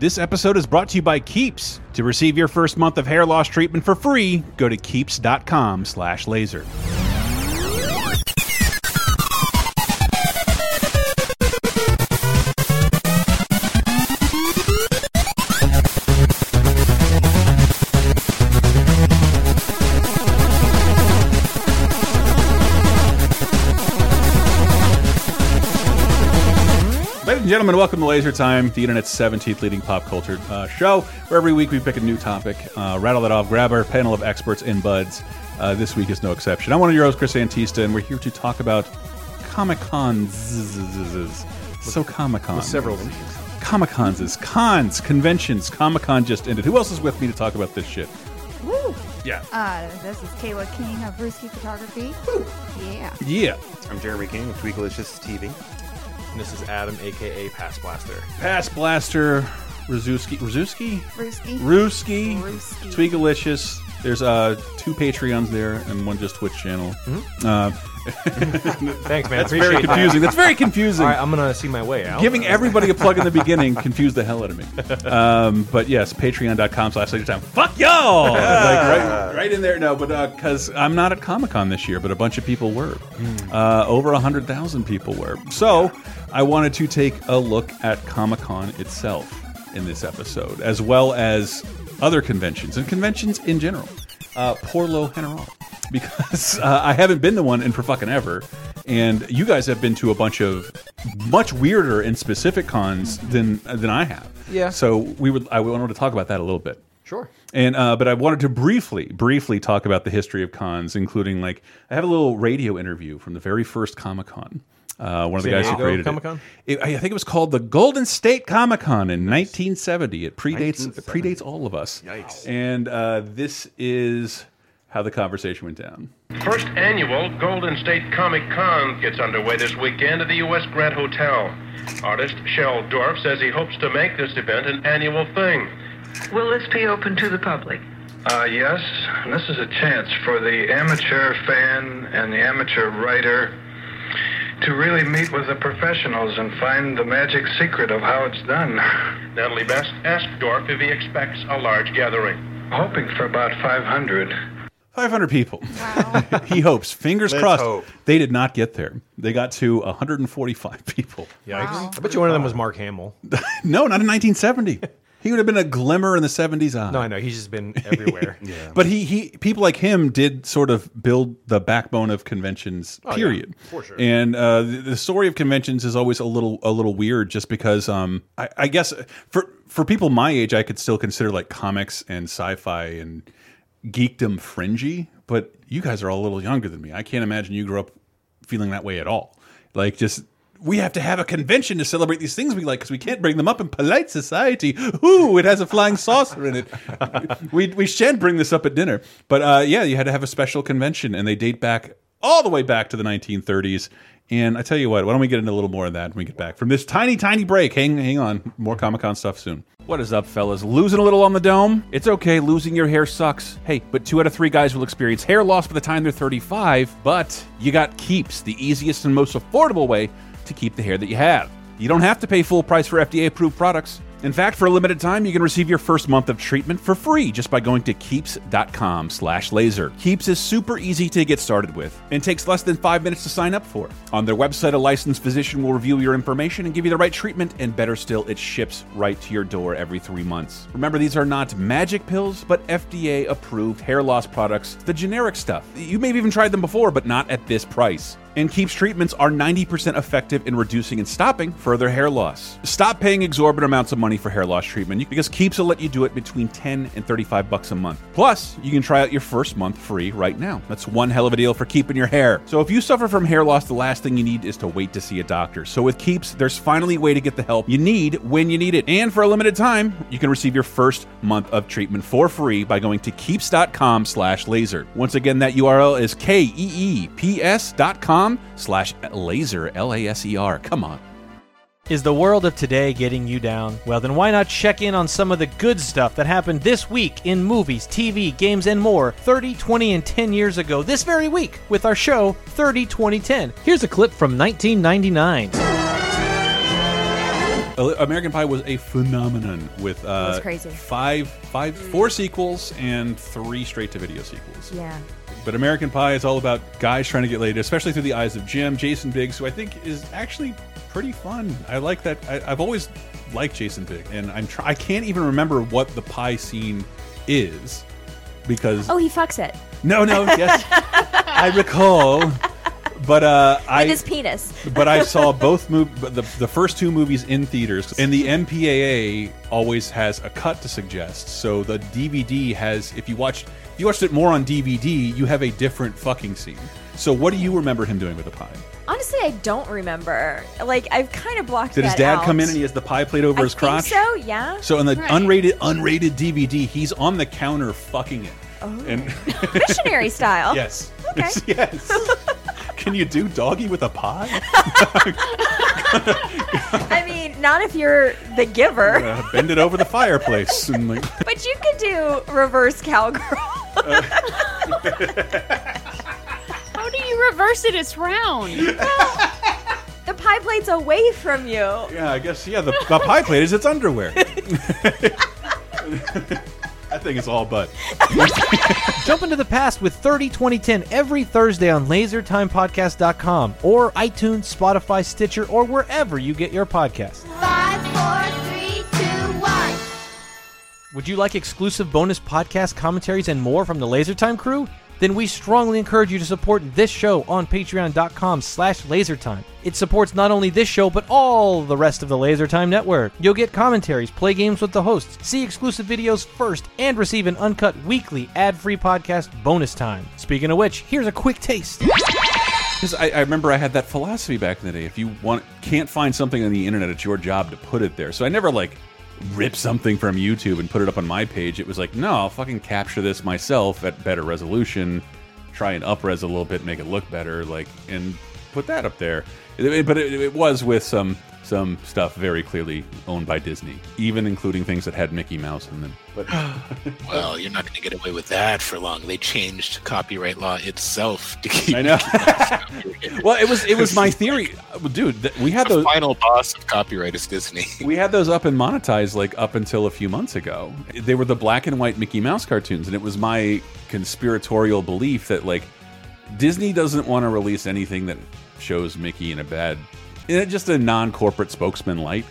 This episode is brought to you by Keeps. To receive your first month of hair loss treatment for free, go to keeps.com slash laser. Ladies and gentlemen, welcome to Laser Time, the internet's 17th leading pop culture uh, show, where every week we pick a new topic, uh, rattle it off, grab our panel of experts and buds. Uh, this week is no exception. I'm one of your hosts, Chris Antista, and we're here to talk about Comic Cons. So Comic Con. several Comic Cons is cons, conventions. Comic Con just ended. Who else is with me to talk about this shit? Woo! Yeah. Uh, this is Kayla King of Brewski Photography. Yeah. Yeah. I'm Jeremy King with Tweakalicious TV. And this is Adam, aka Pass Blaster. Pass Blaster, Razuski. Razuski? Brewski. Rooski, Rooski. Tweakalicious. There's uh, two Patreons there and one just Twitch channel. Mm-hmm. Uh, Thanks, man. that's very confusing. That's very confusing. All right, I'm gonna see my way out. Giving everybody a plug in the beginning confused the hell out of me. Um, but yes, patreon.com slash later time. Fuck y'all! like right, right in there. No, but because I'm not at Comic Con this year, but a bunch of people were. Uh, over 100,000 people were. So I wanted to take a look at Comic Con itself in this episode, as well as other conventions and conventions in general. Uh, Porlo General. Because uh, I haven't been to one in for fucking ever. And you guys have been to a bunch of much weirder and specific cons than than I have. Yeah. So we would I wanted to talk about that a little bit. Sure. And uh, but I wanted to briefly, briefly talk about the history of cons, including like I have a little radio interview from the very first Comic Con. Uh, one of the San guys who Diego created Comic-Con? it. it. I I think it was called the Golden State Comic Con in 1970. It predates 1970. predates all of us. Yikes. And uh, this is how the conversation went down. First annual Golden State Comic Con gets underway this weekend at the U.S. Grant Hotel. Artist Shel Dorf says he hopes to make this event an annual thing. Will this be open to the public? Uh, yes, this is a chance for the amateur fan and the amateur writer to really meet with the professionals and find the magic secret of how it's done. Natalie Best asked Dorf if he expects a large gathering. Hoping for about 500. 500 people. he hopes. Fingers crossed. hope. They did not get there. They got to 145 people. Yikes. Wow. I bet you one of them was Mark Hamill. No, not in 1970. he would have been a glimmer in the 70s eye. No, I know he's just been everywhere. yeah. But he, he people like him did sort of build the backbone of conventions. period. Oh, for sure. And uh, the, the story of conventions is always a little a little weird, just because um, I, I guess for for people my age, I could still consider like comics and sci-fi and geekdom fringy. But you guys are all a little younger than me. I can't imagine you grew up feeling that way at all. Like just. We have to have a convention to celebrate these things we like because we can't bring them up in polite society. Ooh, it has a flying saucer in it. we we shan't bring this up at dinner. But uh, yeah, you had to have a special convention, and they date back all the way back to the 1930s. And I tell you what, why don't we get into a little more of that when we get back from this tiny, tiny break? Hang, hang on, more Comic Con stuff soon. What is up, fellas? Losing a little on the dome? It's okay, losing your hair sucks. Hey, but two out of three guys will experience hair loss by the time they're 35, but you got Keeps, the easiest and most affordable way to keep the hair that you have. You don't have to pay full price for FDA approved products. In fact, for a limited time, you can receive your first month of treatment for free just by going to keeps.com slash laser. Keeps is super easy to get started with and takes less than five minutes to sign up for. On their website, a licensed physician will review your information and give you the right treatment, and better still, it ships right to your door every three months. Remember, these are not magic pills, but FDA approved hair loss products, the generic stuff. You may have even tried them before, but not at this price. And Keeps treatments are 90% effective in reducing and stopping further hair loss. Stop paying exorbitant amounts of money for hair loss treatment because Keeps will let you do it between 10 and 35 bucks a month. Plus, you can try out your first month free right now. That's one hell of a deal for keeping your hair. So if you suffer from hair loss, the last thing you need is to wait to see a doctor. So with Keeps, there's finally a way to get the help you need when you need it. And for a limited time, you can receive your first month of treatment for free by going to keeps.com slash laser. Once again, that URL is E K-E-E-P-S dot com slash laser, L-A-S-E-R. E Come on. Is the world of today getting you down? Well, then why not check in on some of the good stuff that happened this week in movies, TV, games, and more 30, 20, and 10 years ago this very week with our show 30, 20, 10. Here's a clip from 1999. Ali- American Pie was a phenomenon with uh, was crazy. five, five, four sequels and three straight to video sequels. Yeah. But American Pie is all about guys trying to get laid, especially through the eyes of Jim, Jason Biggs, who I think is actually pretty fun. I like that. I, I've always liked Jason Biggs, and I'm try I can't even remember what the pie scene is because Oh, he fucks it no, no, yes, I recall. But uh, I with his penis. but I saw both mov- but the the first two movies in theaters, and the MPAA always has a cut to suggest. So the DVD has, if you watched if you watched it more on DVD, you have a different fucking scene. So what do you remember him doing with the pie? Honestly, I don't remember. Like I've kind of blocked. Did his that dad out. come in and he has the pie plate over I his think crotch? So yeah. So in the Right. unrated unrated DVD, he's on the counter fucking it. And Missionary style. yes, Oh. Okay. yes. Can you do doggy with a pie? I mean, not if you're the giver, Uh, bend it over the fireplace and like. but you could do reverse cowgirl. Uh. How do you reverse it? It's round. the pie plate's away from you. Yeah, I guess. Yeah, the, the pie plate is its underwear. I think it's all butt. Jump into the past with 30 2010 every Thursday on lasertimepodcast.com or iTunes, Spotify, Stitcher, or wherever you get your podcast. Five, four, three, two, one. Would you like exclusive bonus podcast commentaries and more from the Lasertime crew? Then we strongly encourage you to support this show on patreon.com slash lasertime. It supports not only this show, but all the rest of the Lasertime network. You'll get commentaries, play games with the hosts, see exclusive videos first, and receive an uncut weekly ad-free podcast bonus time. Speaking of which, here's a quick taste. Because I, I remember I had that philosophy back in the day. If you want, can't find something on the internet, it's your job to put it there. So I never like ripped something from YouTube and put it up on my page. It was like, no, I'll fucking capture this myself at better resolution, try and up res a little bit, make it look better, like, and put that up there. It- it- But it, it was with some some stuff very clearly owned by Disney, even including things that had Mickey Mouse in them. But Well, you're not going to get away with that for long. They changed copyright law itself to keep I know. well, it was it was my theory, dude. That we had the those final boss of copyright is Disney. we had those up and monetized like up until a few months ago. They were the black and white Mickey Mouse cartoons, and it was my conspiratorial belief that like Disney doesn't want to release anything that shows Mickey in a bad, in a- just a non-corporate spokesman light.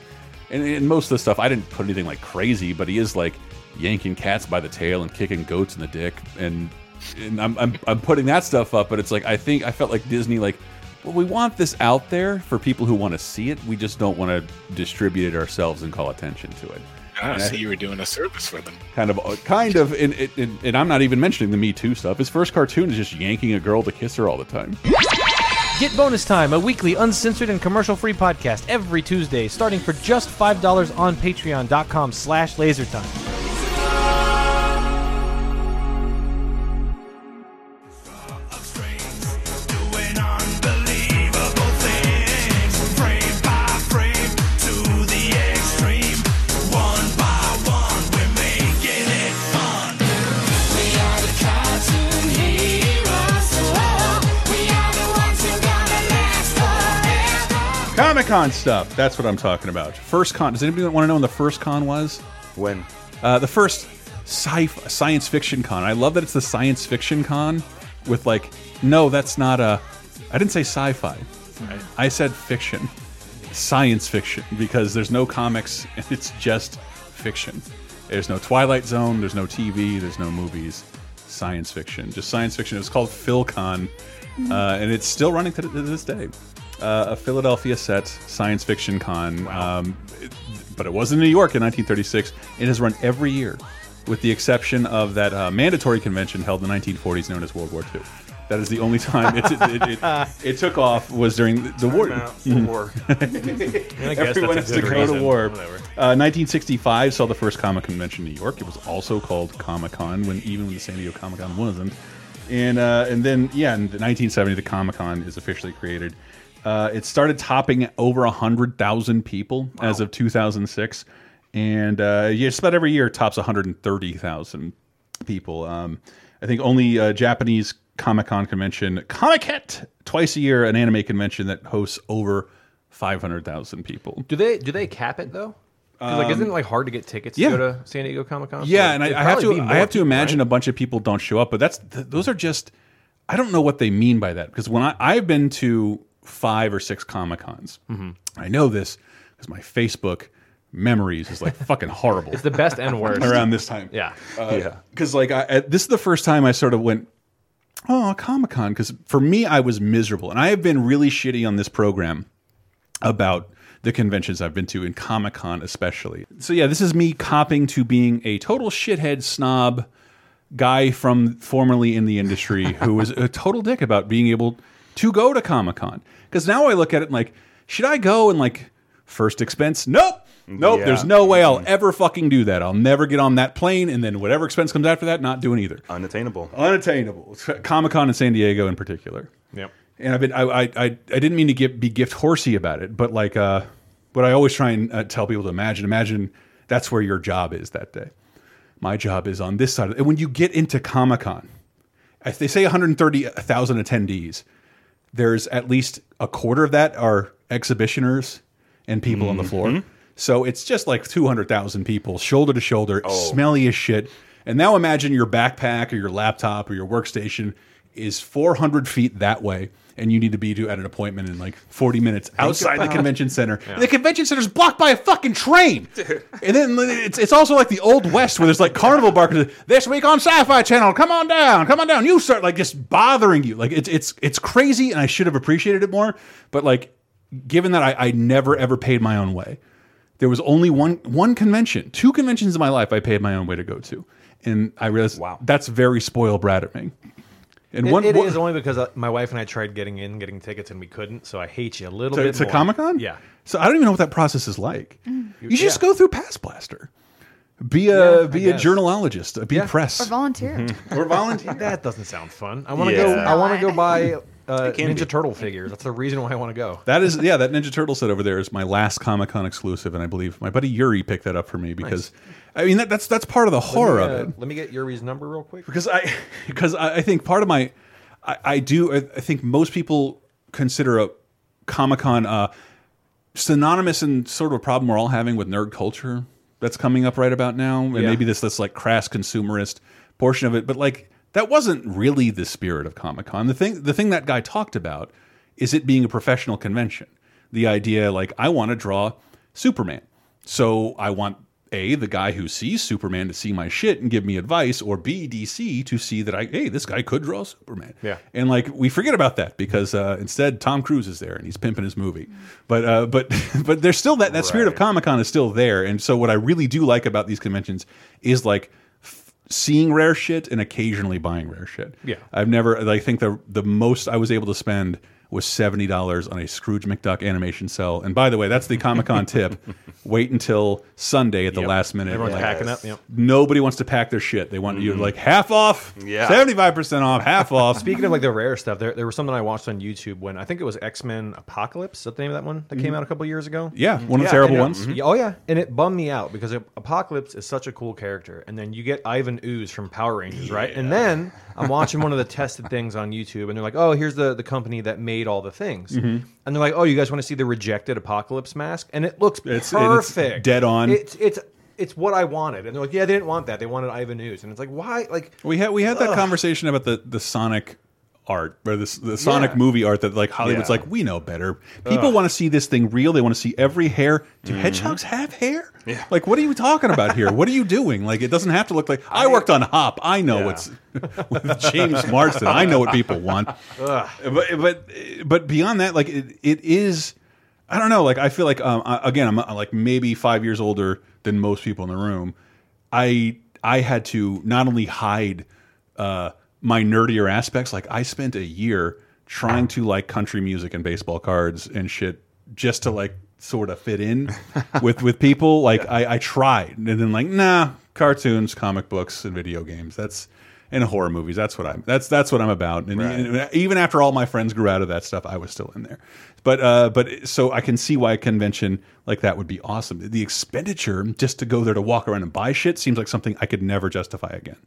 And, and most of the stuff, I didn't put anything like crazy, but he is like yanking cats by the tail and kicking goats in the dick, and and I'm I'm, I'm putting that stuff up. But it's like I think I felt like Disney like. Well, we want this out there for people who want to see it. We just don't want to distribute it ourselves and call attention to it. Ah, so you were doing a service for them. Kind of, uh, kind of, and, and, and I'm not even mentioning the Me Too stuff. His first cartoon is just yanking a girl to kiss her all the time. Get Bonus Time, a weekly uncensored and commercial-free podcast every Tuesday, starting for just $5 on patreon.com slash lasertime. Comic Con stuff. That's what I'm talking about. First con. Does anybody want to know when the first con was? When? Uh, the first sci science fiction con. I love that it's the science fiction con with like, no, that's not a. I didn't say sci-fi. I said fiction, science fiction, because there's no comics and it's just fiction. There's no Twilight Zone. There's no TV. There's no movies. Science fiction, just science fiction. It was called PhilCon, uh, and it's still running to to this day. Uh, a Philadelphia set science fiction con. Um, but it was in New York in 1936. It has run every year, with the exception of that uh, mandatory convention held in the 1940s known as World War II. That is the only time it, it, it, it, it took off was during the, the war. mm. Mm-hmm. War. I guess Everyone has that's to a good go to reason. war. Whatever. Uh, 1965 saw the first comic convention in New York. It was also called Comic Con when even when the San Diego Comic Con wasn't. And uh, and then yeah, in 1970 the Comic Con is officially created. Uh, it started topping over hundred thousand people as of 2006, and uh, yeah, just about every year it tops 130,000 people. Um, I think only uh, Japanese Comic Con convention, Comic Con, twice a year, an anime convention that hosts over five hundred thousand people. Do they do they cap it though? 'Cause, like, isn't it like hard to get tickets yeah. to go to San Diego Comic Con? Yeah, and I, I have to I have to imagine a bunch of people don't show up, but that's th those are just I don't know what they mean by that because when I I've been to five or six Comic Cons, Mhm. I know this because my Facebook memories is like fucking horrible. It's the best and worst around this time. Yeah, yeah. Because like I, I, this is the first time I sort of went, oh, Comic Con. Because for me, I was miserable, and I have been really shitty on this program about the conventions I've been to, and Comic Con especially. So yeah, this is me copping to being a total shithead snob guy from formerly in the industry who was a total dick about being able to go to Comic Con. Because now I look at it and like, should I go and like first expense? Nope. Nope, Yeah. there's no way I'll ever fucking do that. I'll never get on that plane, and then whatever expense comes after that, not doing either. Unattainable. Unattainable. Comic Con in San Diego, in particular. Yep. And I've been, I, I, I, I didn't mean to get, be gift horsey about it, but like, uh, what I always try and uh, tell people to imagine, imagine that's where your job is that day. My job is on this side. Of, and when you get into Comic Con, if they say 130,000 attendees, there's at least a quarter of that are exhibitioners and people on the floor. So it's just like 200,000 people, shoulder to shoulder, smelly as shit. And now imagine your backpack or your laptop or your workstation is 400 feet that way, and you need to be to, at an appointment in like 40 minutes outside the about- convention center. Yeah. The convention center's blocked by a fucking train. And then it's, it's also like the old west where there's like carnival barkers. This week on Sci-Fi Channel, come on down, come on down. You start like just bothering you. Like it's it's it's crazy, and I should have appreciated it more. But like, given that I, I never ever paid my own way, there was only one one convention, two conventions in my life I paid my own way to go to, and I realized wow. that's very spoil brattering. And It- one it one- is only because uh, my wife and I tried getting in, getting tickets, and we couldn't. So I hate you a little to, bit. to more. Comic Con? Yeah. Mm. So I don't even know what that process is like. You should just yeah. go through Pass Blaster. Be a Yeah, I be a guess. journalologist. uh, Be press. Or volunteer. Or volunteer. that doesn't sound fun. I want to Yeah. go. I want to go buy uh, It can Ninja be. Turtle figures. That's the reason why I want to go. That is yeah, that Ninja Turtle set over there is my last Comic Con exclusive, and I believe my buddy Yuri picked that up for me because I mean that, that's that's part of the horror let me, of it. uh, Let me get Yuri's number real quick. because I because I, I think part of my I, I do I, I think most people consider a Comic Con uh, synonymous and sort of a problem we're all having with nerd culture that's coming up right about now, and Yeah. maybe this this like crass consumerist portion of it, but like that wasn't really the spirit of Comic Con. The thing the thing that guy talked about is it being a professional convention. The idea like I want to draw Superman, so I want a the guy who sees Superman to see my shit and give me advice, or B DC to see that I hey this guy could draw Superman. Yeah. And like we forget about that because uh, instead Tom Cruise is there and he's pimping his movie. But uh, but but there's still that that spirit of Comic Con is still there. And so what I really do like about these conventions is like f seeing rare shit and occasionally buying rare shit. Yeah. I've never I think the the most I was able to spend was seventy dollars on a Scrooge McDuck animation cell. And by the way, that's the Comic Con tip. Wait until Sunday at the last minute. Everyone's Like, packing up, yep. Nobody wants to pack their shit. They want you to like half off. Yeah. Seventy five percent off, half off. Speaking of like the rare stuff, there, there was something I watched on YouTube when I think it was X Men Apocalypse. Is that the name of that one that came Mhm. out a couple years ago? Yeah, one of the terrible and it- ones. Mm-hmm. Mhm. yeah, oh yeah, and it bummed me out because Apocalypse is such a cool character, and then you get Ivan Ooze from Power Rangers, right? And then I'm watching one of the tested things on YouTube, and they're like, "Oh, here's the the company that made all the things," Mhm. and they're like, "Oh, you guys want to see the rejected Apocalypse mask?" And it looks and it's perfect, dead on. It's it's it's what I wanted, and they're like, "Yeah, they didn't want that. They wanted Ivan Ooze," and it's like, "Why?" Like We had we had that Ugh. conversation about the the Sonic art or the, the Sonic movie art that like Hollywood's Yeah. like we know better. People Ugh. want to see this thing real. They want to see every hair. Do Mhm. hedgehogs have hair? Yeah. Like what are you talking about here? what are you doing? Like it doesn't have to look like I, worked on Hop. I know what's with James Marsden. I know what people want. Ugh. But but but beyond that, like it, it is. I don't know. Like I feel like um, I, again, I'm, uh, like maybe five years older than most people in the room. I I had to not only hide uh, my nerdier aspects. Like I spent a year trying to like country music and baseball cards and shit just to like sort of fit in with with people. Like I, I tried and then like nah, cartoons, comic books, and video games. That's and horror movies. That's what I'm. That's that's what I'm about. And, Right. and even after all my friends grew out of that stuff, I was still in there. But uh, but so I can see why a convention like that would be awesome. The expenditure just to go there to walk around and buy shit seems like something I could never justify again.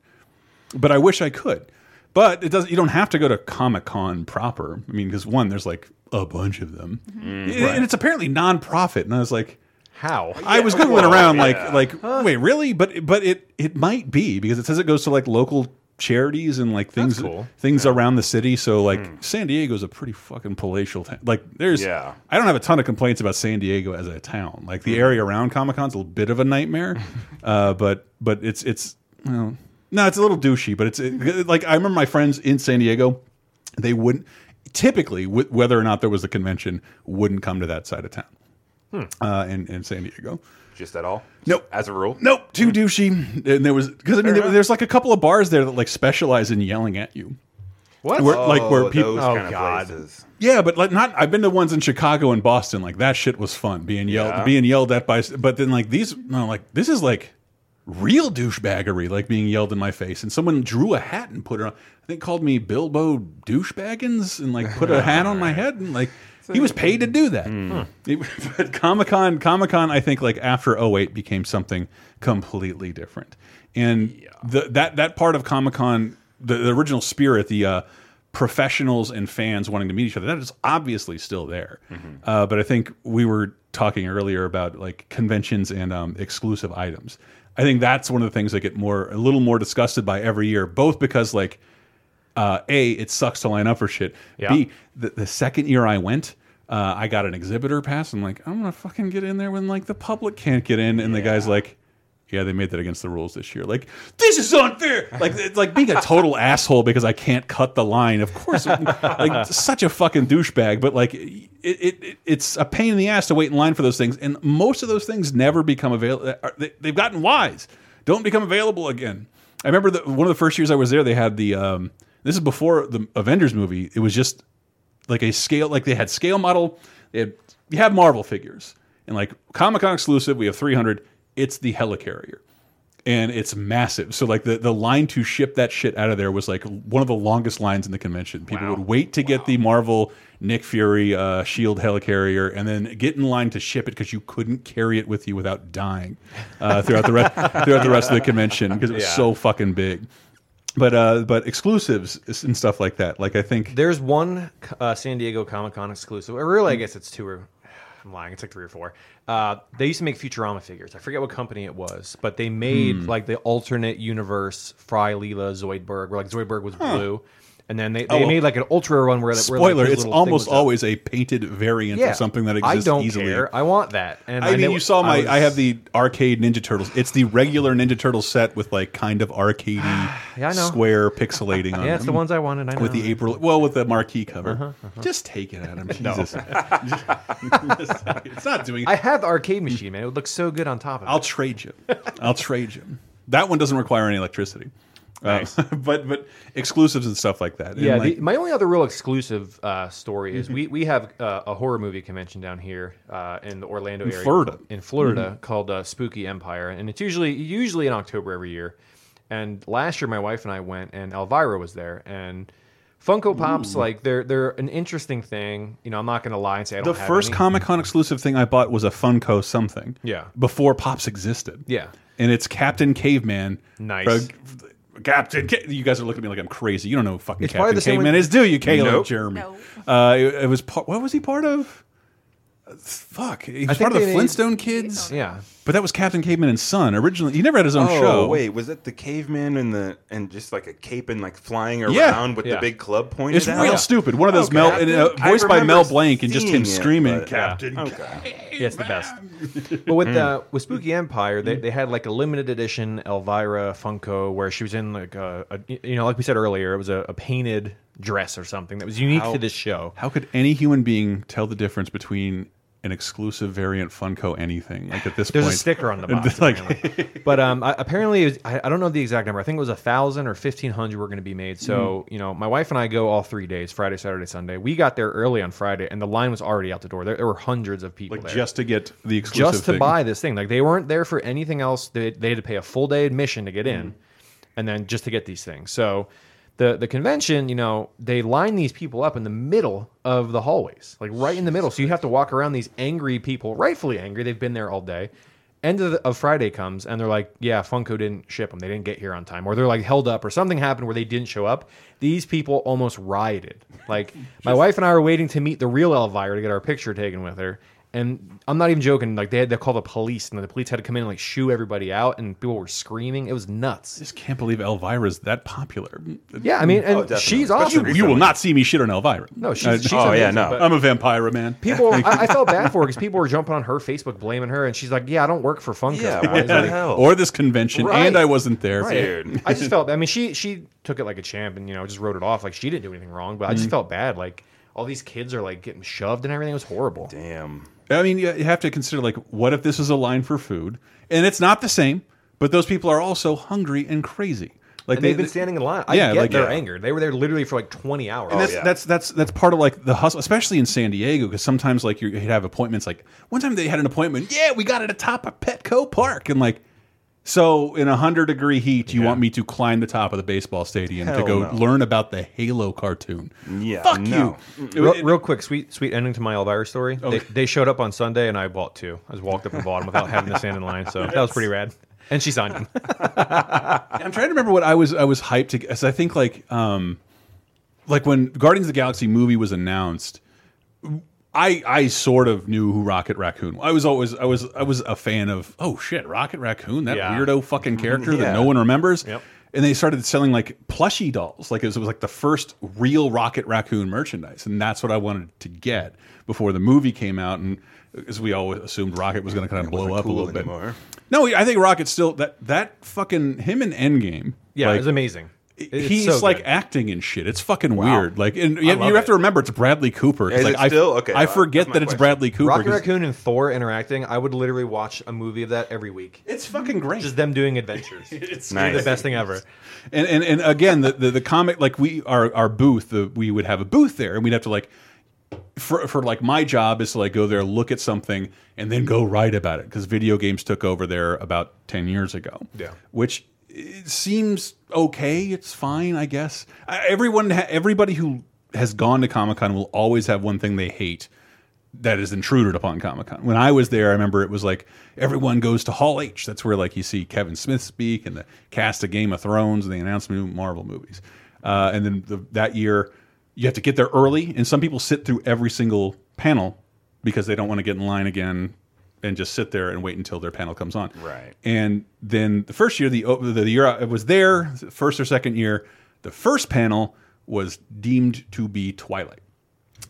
But I wish I could But it doesn't. You don't have to go to Comic Con proper. I mean, because one, there's like a bunch of them, and, Right. and it's apparently nonprofit. And I was like, how? I was Yeah, googling well, around, yeah. like, like wait, really? But but it it might be because it says it goes to like local charities and like things things around the city. So like San Diego's a pretty fucking palatial town. Like there's Yeah. I don't have a ton of complaints about San Diego as a town. Like Hmm. the area around Comic Con's a little bit of a nightmare, uh, but but it's it's well, no, it's a little douchey. But it's it, like I remember my friends in San Diego, they wouldn't typically wh- whether or not there was a convention wouldn't come to that side of town. Hmm. Uh, in, in San Diego, Just at all? Nope. As a rule? Nope. Too douchey. And there was because I mean Fair there, enough. there's like a couple of bars there that like specialize in yelling at you. What? Where, like where Oh, people? those kind of God. places. Yeah, but like not. I've been to ones in Chicago and Boston. Like that shit was fun being yelled Yeah. being yelled at by. But then like these no like this is like real douchebaggery like being yelled in my face and someone drew a hat and put it on i think called me bilbo douchebaggins and like put a hat on my head and like he was paid to do that It- but comic-con comic-con i think like after 08 became something completely different and the, that that part of comic-con the, the original spirit the uh professionals and fans wanting to meet each other that is obviously still there uh, but i think we were talking earlier about like conventions and um, exclusive items i think that's one of the things that get more a little more disgusted by every year both because like uh, a it sucks to line up for shit Yeah. b the, the second year i went uh, i got an exhibitor pass i'm like i'm gonna fucking get in there when like the public can't get in and the guy's like yeah they made that against the rules this year like this is unfair like it's like being a total asshole because i can't cut the line of course like such a fucking douchebag but like it, it, it it's a pain in the ass to wait in line for those things and most of those things never become available they, they've gotten wise don't become available again i remember the, one of the first years i was there they had the um, this is before the avengers movie it was just like a scale like they had scale model they had you have marvel figures and like comic-con exclusive we have 300 it's the helicarrier and it's massive. So like the the line to ship that shit out of there was like one of the longest lines in the convention. People would wait to get the Marvel Nick Fury uh, Shield helicarrier, and then get in line to ship it because you couldn't carry it with you without dying uh, throughout the re- throughout the rest of the convention because it was Yeah. so fucking big. But uh, but exclusives and stuff like that. Like I think there's one uh, San Diego Comic Con exclusive. Or really, I Mm. guess it's two or I'm lying. It's like three or four. Uh, they used to make Futurama figures. I forget what company it was, but they made Hmm. like the alternate universe Fry, Leela, Zoidberg, where like Zoidberg was Huh. blue, and then they, Oh, they well, made like an ultra run where that- where, like, spoiler, his it's little thing almost was up. always a painted variant Yeah. of something that I exists don't easily. care. I want that. And I, mean, know- you saw my. I, was- have the arcade Ninja Turtles. It's the regular Ninja Turtle set with like kind of arcadey Yeah, I know. square pixelating on Yeah, it's the them. ones I wanted, I with know. the April, well, with the marquee cover. Uh-huh, uh-huh. Just take it, Adam. No. Jesus, it's not doing. I have the arcade machine, man. It would look so good on top of it. I'll trade you. I'll trade you. That one doesn't require any electricity. Uh, but but exclusives and stuff like that. And, Yeah, like, Mm-hmm. the, my only other real exclusive uh, story is we we have uh, a horror movie convention down here uh, in the Orlando In area, Florida. Mm-hmm. in Florida, called uh, Spooky Empire, and it's usually usually in October every year. And last year, my wife and I went, and Elvira was there, and Funko Pops Ooh. like they're they're an interesting thing. You know, I'm not going to lie and say I don't the have first any. Comic Con exclusive thing I bought was a Funko something. Yeah. Before Pops existed. Yeah. And it's Captain Caveman. Nice. Bro, Captain, Ca you guys are looking at me like I'm crazy. You don't know who fucking It's probably Captain the same Caveman one- is, do you, Caleb? Nope. Jeremy. No. Uh, it, it was part. What was he part of? Uh, Fuck, he I was think part of the they made- Flintstone Kids. Yeah. but that was Captain Caveman and Son originally. He never had his own oh, show. Wait, was it the caveman and the and just like a cape and like flying around Yeah. with Yeah. the big club pointed? It's out? real stupid. One of those Mel, and, uh, I voiced by remember Mel Blank, and just him seeing it, screaming, but- "Captain Oh, Yeah, it's the best. but with Mm. uh, with Spooky Empire, they, they had like a limited edition Elvira Funko where she was in like a, a you know like we said earlier, it was a, a painted dress or something that was unique How- to this show. How could any human being tell the difference between an exclusive variant Funko anything? Like at this There's point, a sticker on the box. like, apparently. but um, I, apparently, it was, I, I don't know the exact number. I think it was a thousand or fifteen hundred were going to be made. So Hmm. you know, my wife and I go all three days: Friday, Saturday, Sunday. We got there early on Friday, and the line was already out the door. There, there were hundreds of people there. just to get the exclusive just to thing. buy this thing. Like they weren't there for anything else. They, they had to pay a full day admission to get Hmm. in, and then just to get these things. So the the convention, you know, they line these people up in the middle of the hallways, like right in the middle. So you have to walk around these angry people, rightfully angry. They've been there all day. end of, the, of Friday comes and they're like, yeah, Funko didn't ship them. They didn't get here on time. Or they're like held up or something happened where they didn't show up. These people almost rioted. Like, my wife and I are waiting to meet the real Elvira to get our picture taken with her. And I'm not even joking. Like, they had to call the police and the police had to come in and like shoo everybody out and people were screaming. It was nuts. just can't believe Elvira's that popular. Yeah, I mean, and she's awesome. You, you will not see me shit on Elvira. Uh, oh, Oh, No, she's- she's amazing, but- I'm a vampire man. People, I, I felt bad for her because people were jumping on her Facebook blaming her, and she's like, "Yeah, I don't work for Funko." guys." Like, Or this convention, Right. and I wasn't there. Right. I just felt. I mean, she she took it like a champ, and you know, just wrote it off like she didn't do anything wrong. But I just Mhm. felt bad. Like all these kids are like getting shoved and everything. It was horrible. Damn. I mean, you you have to consider like, what if this is a line for food, and it's not the same, but those people are also hungry and crazy. Like Like they've been standing in line. I yeah, get like- their yeah. anger. They were there literally for like twenty hours. And that's, that's that's that's part of like the hustle, especially in San Diego, because sometimes like you- you'd have appointments. Like one time they had an appointment, yeah, we got it atop a Petco Park, and like so in a hundred degree heat, you want me to climb the top of the baseball stadium to Hell go no. learn about the Halo cartoon? Yeah, fuck you. Real, real quick, sweet sweet ending to my Elvira story. Oh. They, they showed up on Sunday, and I bought two. I just walked up and bought them without having to stand in line. So that was pretty rad. And she signed them. I'm trying to remember what I was I was hyped to because I think like um like when Guardians of the Galaxy movie was announced, I I sort of knew who Rocket Raccoon. I was always I was I was a fan of oh shit Rocket Raccoon that Yeah. weirdo fucking character that Yeah. no one remembers. Yep. And they started selling like plushie dolls, like it was, it was like the first real Rocket Raccoon merchandise, and that's what I wanted to get before the movie came out. And as we all assumed, Rocket was going to kind of blow up a cool little bit. No, I think Rocket's still that that fucking him in Endgame. Yeah, like, it was amazing. It- it's he's so like good. acting and shit. It's fucking Wow. weird. Like, and you, I love you have to remember it's Bradley Cooper. 'cause, Is like, it I, still? Okay, I wow. forget that it's Bradley Cooper. Rocket 'cause Raccoon and Thor interacting. I would literally watch a movie of that every week. It's fucking great. Just them doing adventures. it's Nice. the best thing ever. And and and again, the the, the comic like we our our booth, the, we would have a booth there, and we'd have to like. For, for like my job is to like go there look at something and then go write about it because video games took over there about 10 years ago Yeah. which it seems okay. It's fine, I guess. I- Everyone, ha everybody who has gone to Comic Con will always have one thing they hate that is intruded upon Comic Con. When I was there, I remember it was like everyone goes to Hall H. That's where like you see Kevin Smith speak and the cast of Game of Thrones and they announce new Marvel movies. Uh, and then the, that year, you have to get there early, and some people sit through every single panel because they don't want to get in line again and just sit there and wait until their panel comes on. Right. And then the first year, the the year I was there, first or second year, the first panel was deemed to be Twilight.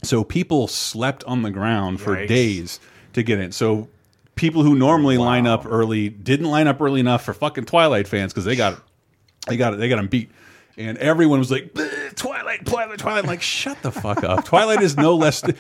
So people slept on the ground for Yikes. days to get in. So people who normally line up early didn't line up early enough for fucking Twilight fans because they got they got they got them beat. And everyone was like, "Bleh, Twilight, Twilight, Twilight. I'm like, shut the fuck up. Twilight is no less.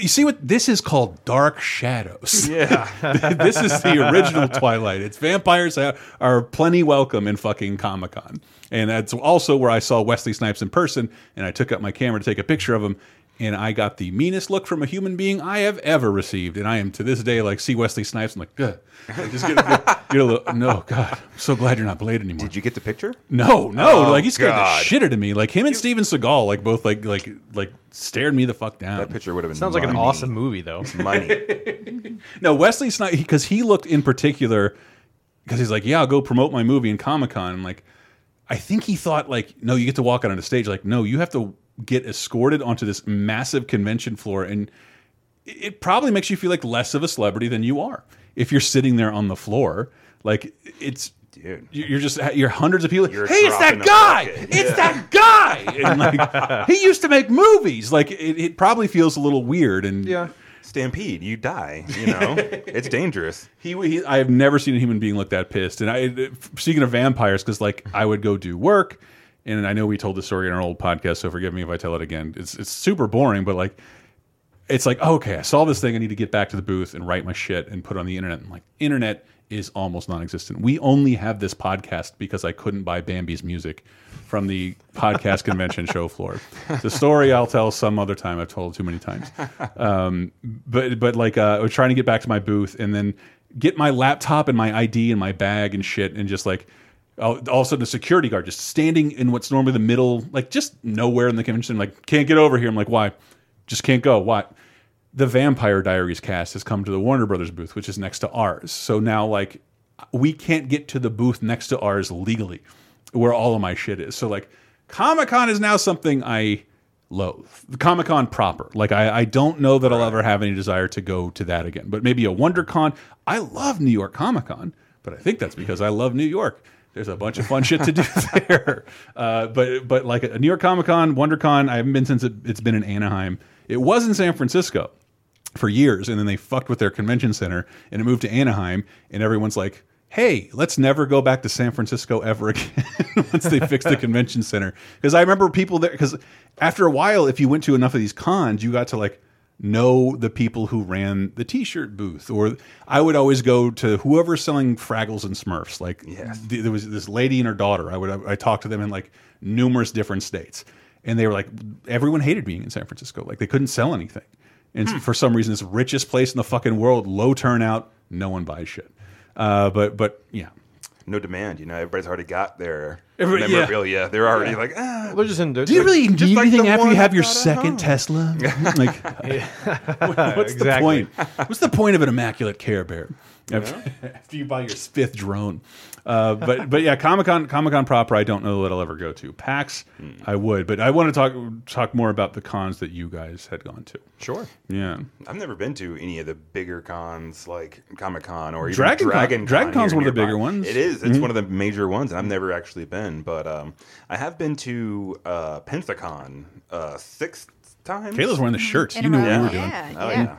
You see what this is called? Dark shadows. Yeah. this is the original Twilight. It's vampires are, are plenty welcome in fucking Comic Con, and that's also where I saw Wesley Snipes in person. And I took up my camera to take a picture of him, and I got the meanest look from a human being I have ever received. And I am to this day like, see Wesley Snipes, I'm like, Ugh. I just get a, get a little, no, God, I'm so glad you're not Blade anymore. Did you get the picture? No, no, Oh, like he scared God. the shit out of me. Like him and Steven Seagal, like both like like like stared me the fuck down. That picture would have been Sounds like an money. awesome movie, though. No, Wesley Snipes because he looked in particular because he's like, yeah, I'll go promote my movie in Comic Con. I'm like, I think he thought like, no, you get to walk out on a stage. Like, no, you have to get escorted onto this massive convention floor, and it- it probably makes you feel like less of a celebrity than you are if you're sitting there on the floor. Like, it's. Dude. You're just you're hundreds of people. hey, it's that guy. It's that guy. And like, he used to make movies. Like it, it probably feels a little weird. And yeah, stampede, you die. You know, it's dangerous. He, he, I have never seen a human being look that pissed. And I, speaking of vampires, because like I would go do work, and I know we told this story in our old podcast, so forgive me if I tell it again. It's it's super boring, but like, it's like oh, okay, I saw this thing. I need to get back to the booth and write my shit and put it on the internet. And like, internet is almost non-existent. We only have this podcast because I couldn't buy Bambi's music from the podcast convention show floor. The story I'll tell some other time. I've told it too many times. Um, but but like uh, I was trying to get back to my booth and then get my laptop and my ID and my bag and shit and just like all, all of a sudden a security guard just standing in what's normally the middle like just nowhere in the convention like can't get over here. I'm like why? Just can't go. Why? the Vampire Diaries cast has come to the Warner Brothers booth, which is next to ours. So now, like, we can't get to the booth next to ours legally, where all of my shit is. So like, Comic Con is now something I loathe. Comic Con proper. Like, I, I don't know that I'll ever have any desire to go to that again. But maybe a WonderCon. I love New York Comic Con, but I think that's because I love New York. There's a bunch of fun shit to do there. Uh, but but like a New York Comic Con, WonderCon, I haven't been since it, it's been in Anaheim. It was in San Francisco for years, and then they fucked with their convention center and it moved to Anaheim, and everyone's like, "Hey, let's never go back to San Francisco ever again." once they fixed the convention center, because I remember people there. Because after a while, if you went to enough of these cons, you got to like know the people who ran the t-shirt booth or i would always go to whoever's selling fraggles and smurfs like th- there was this lady and her daughter i would I, I talked to them in like numerous different states and they were like everyone hated being in san francisco like they couldn't sell anything and Hmm. for some reason it's the richest place in the fucking world low turnout no one buys shit uh, but but yeah no demand. You know, everybody's already got their Everybody- yeah. memorabilia. They're already Yeah. like, ah. Well, they're just in. do you really need like anything the after you one have your I got at second home. tesla like what's the point what's the point of an immaculate care bear after, after you buy your fifth drone uh, but but yeah comic-con comic-con proper i don't know that i'll ever go to pax i would but i want to talk talk more about the cons that you guys had gone to Sure. yeah I've never been to any of the bigger cons like Comic Con or even Dragon Dragon Con- Dragon. Dragon Con's here one of the nearby. bigger ones. It is. It's Mhm. one of the major ones, and I've never actually been, but um, I have been to uh, Pensacon uh, six times. Kayla's wearing the shirts. In You a knew row. what we were doing. Yeah, Oh, yeah. yeah.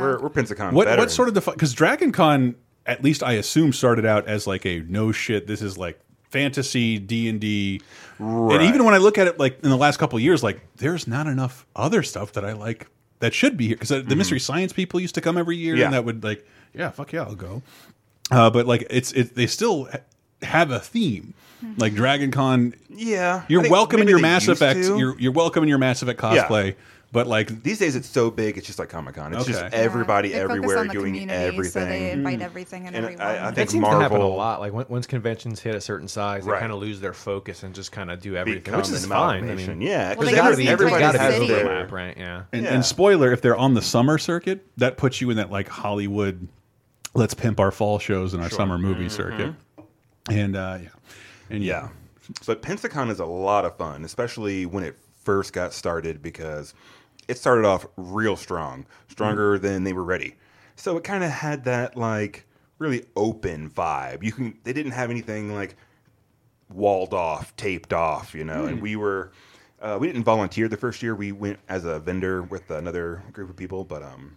We're, we're Pensacon. What better. what sort of defi- because Dragon Con at least I assume started out as like a no shit. This is like fantasy D and D. Right. And even when I look at it, like in the last couple of years, like there's not enough other stuff that I like that should be here because the mystery science people used to come every year, Mm-hmm. Yeah. and that would like, yeah, fuck yeah, I'll go. Uh, but like, it's it, they still ha have a theme, like Dragon Con. Yeah, I you're think welcome in maybe your they Mass used Effect. to. You're you're welcome in your Mass Effect Yeah. cosplay, but like These days, it's so big. It's just like Comic Con. It's just Okay. Hmm. everybody They focus everywhere on the doing community, everything. Mm. So they invite everything and, And I- everyone. I That think seems to happen a Marvel- lot. Like when, once conventions hit a certain size, they Right. kind of lose their focus and just kind of do everything, Become which is an fine. I amalgamation. mean, Yeah, because Well, they use the everybody's entire got to have city. overlap, right? Yeah. And, Yeah. and spoiler, if they're on the summer circuit, that puts you in that like Hollywood, let's pimp our fall shows and our summer movie circuit. And uh, yeah, and Mm-hmm. Yeah. But Pensacon is a lot of fun, especially when it first got started because it started off real strong, stronger than they were ready. So it kind of had that like really open vibe. You can they didn't have anything like walled off, taped off, you know. And we were uh, we didn't volunteer the first year. We went as a vendor with another group of people, but um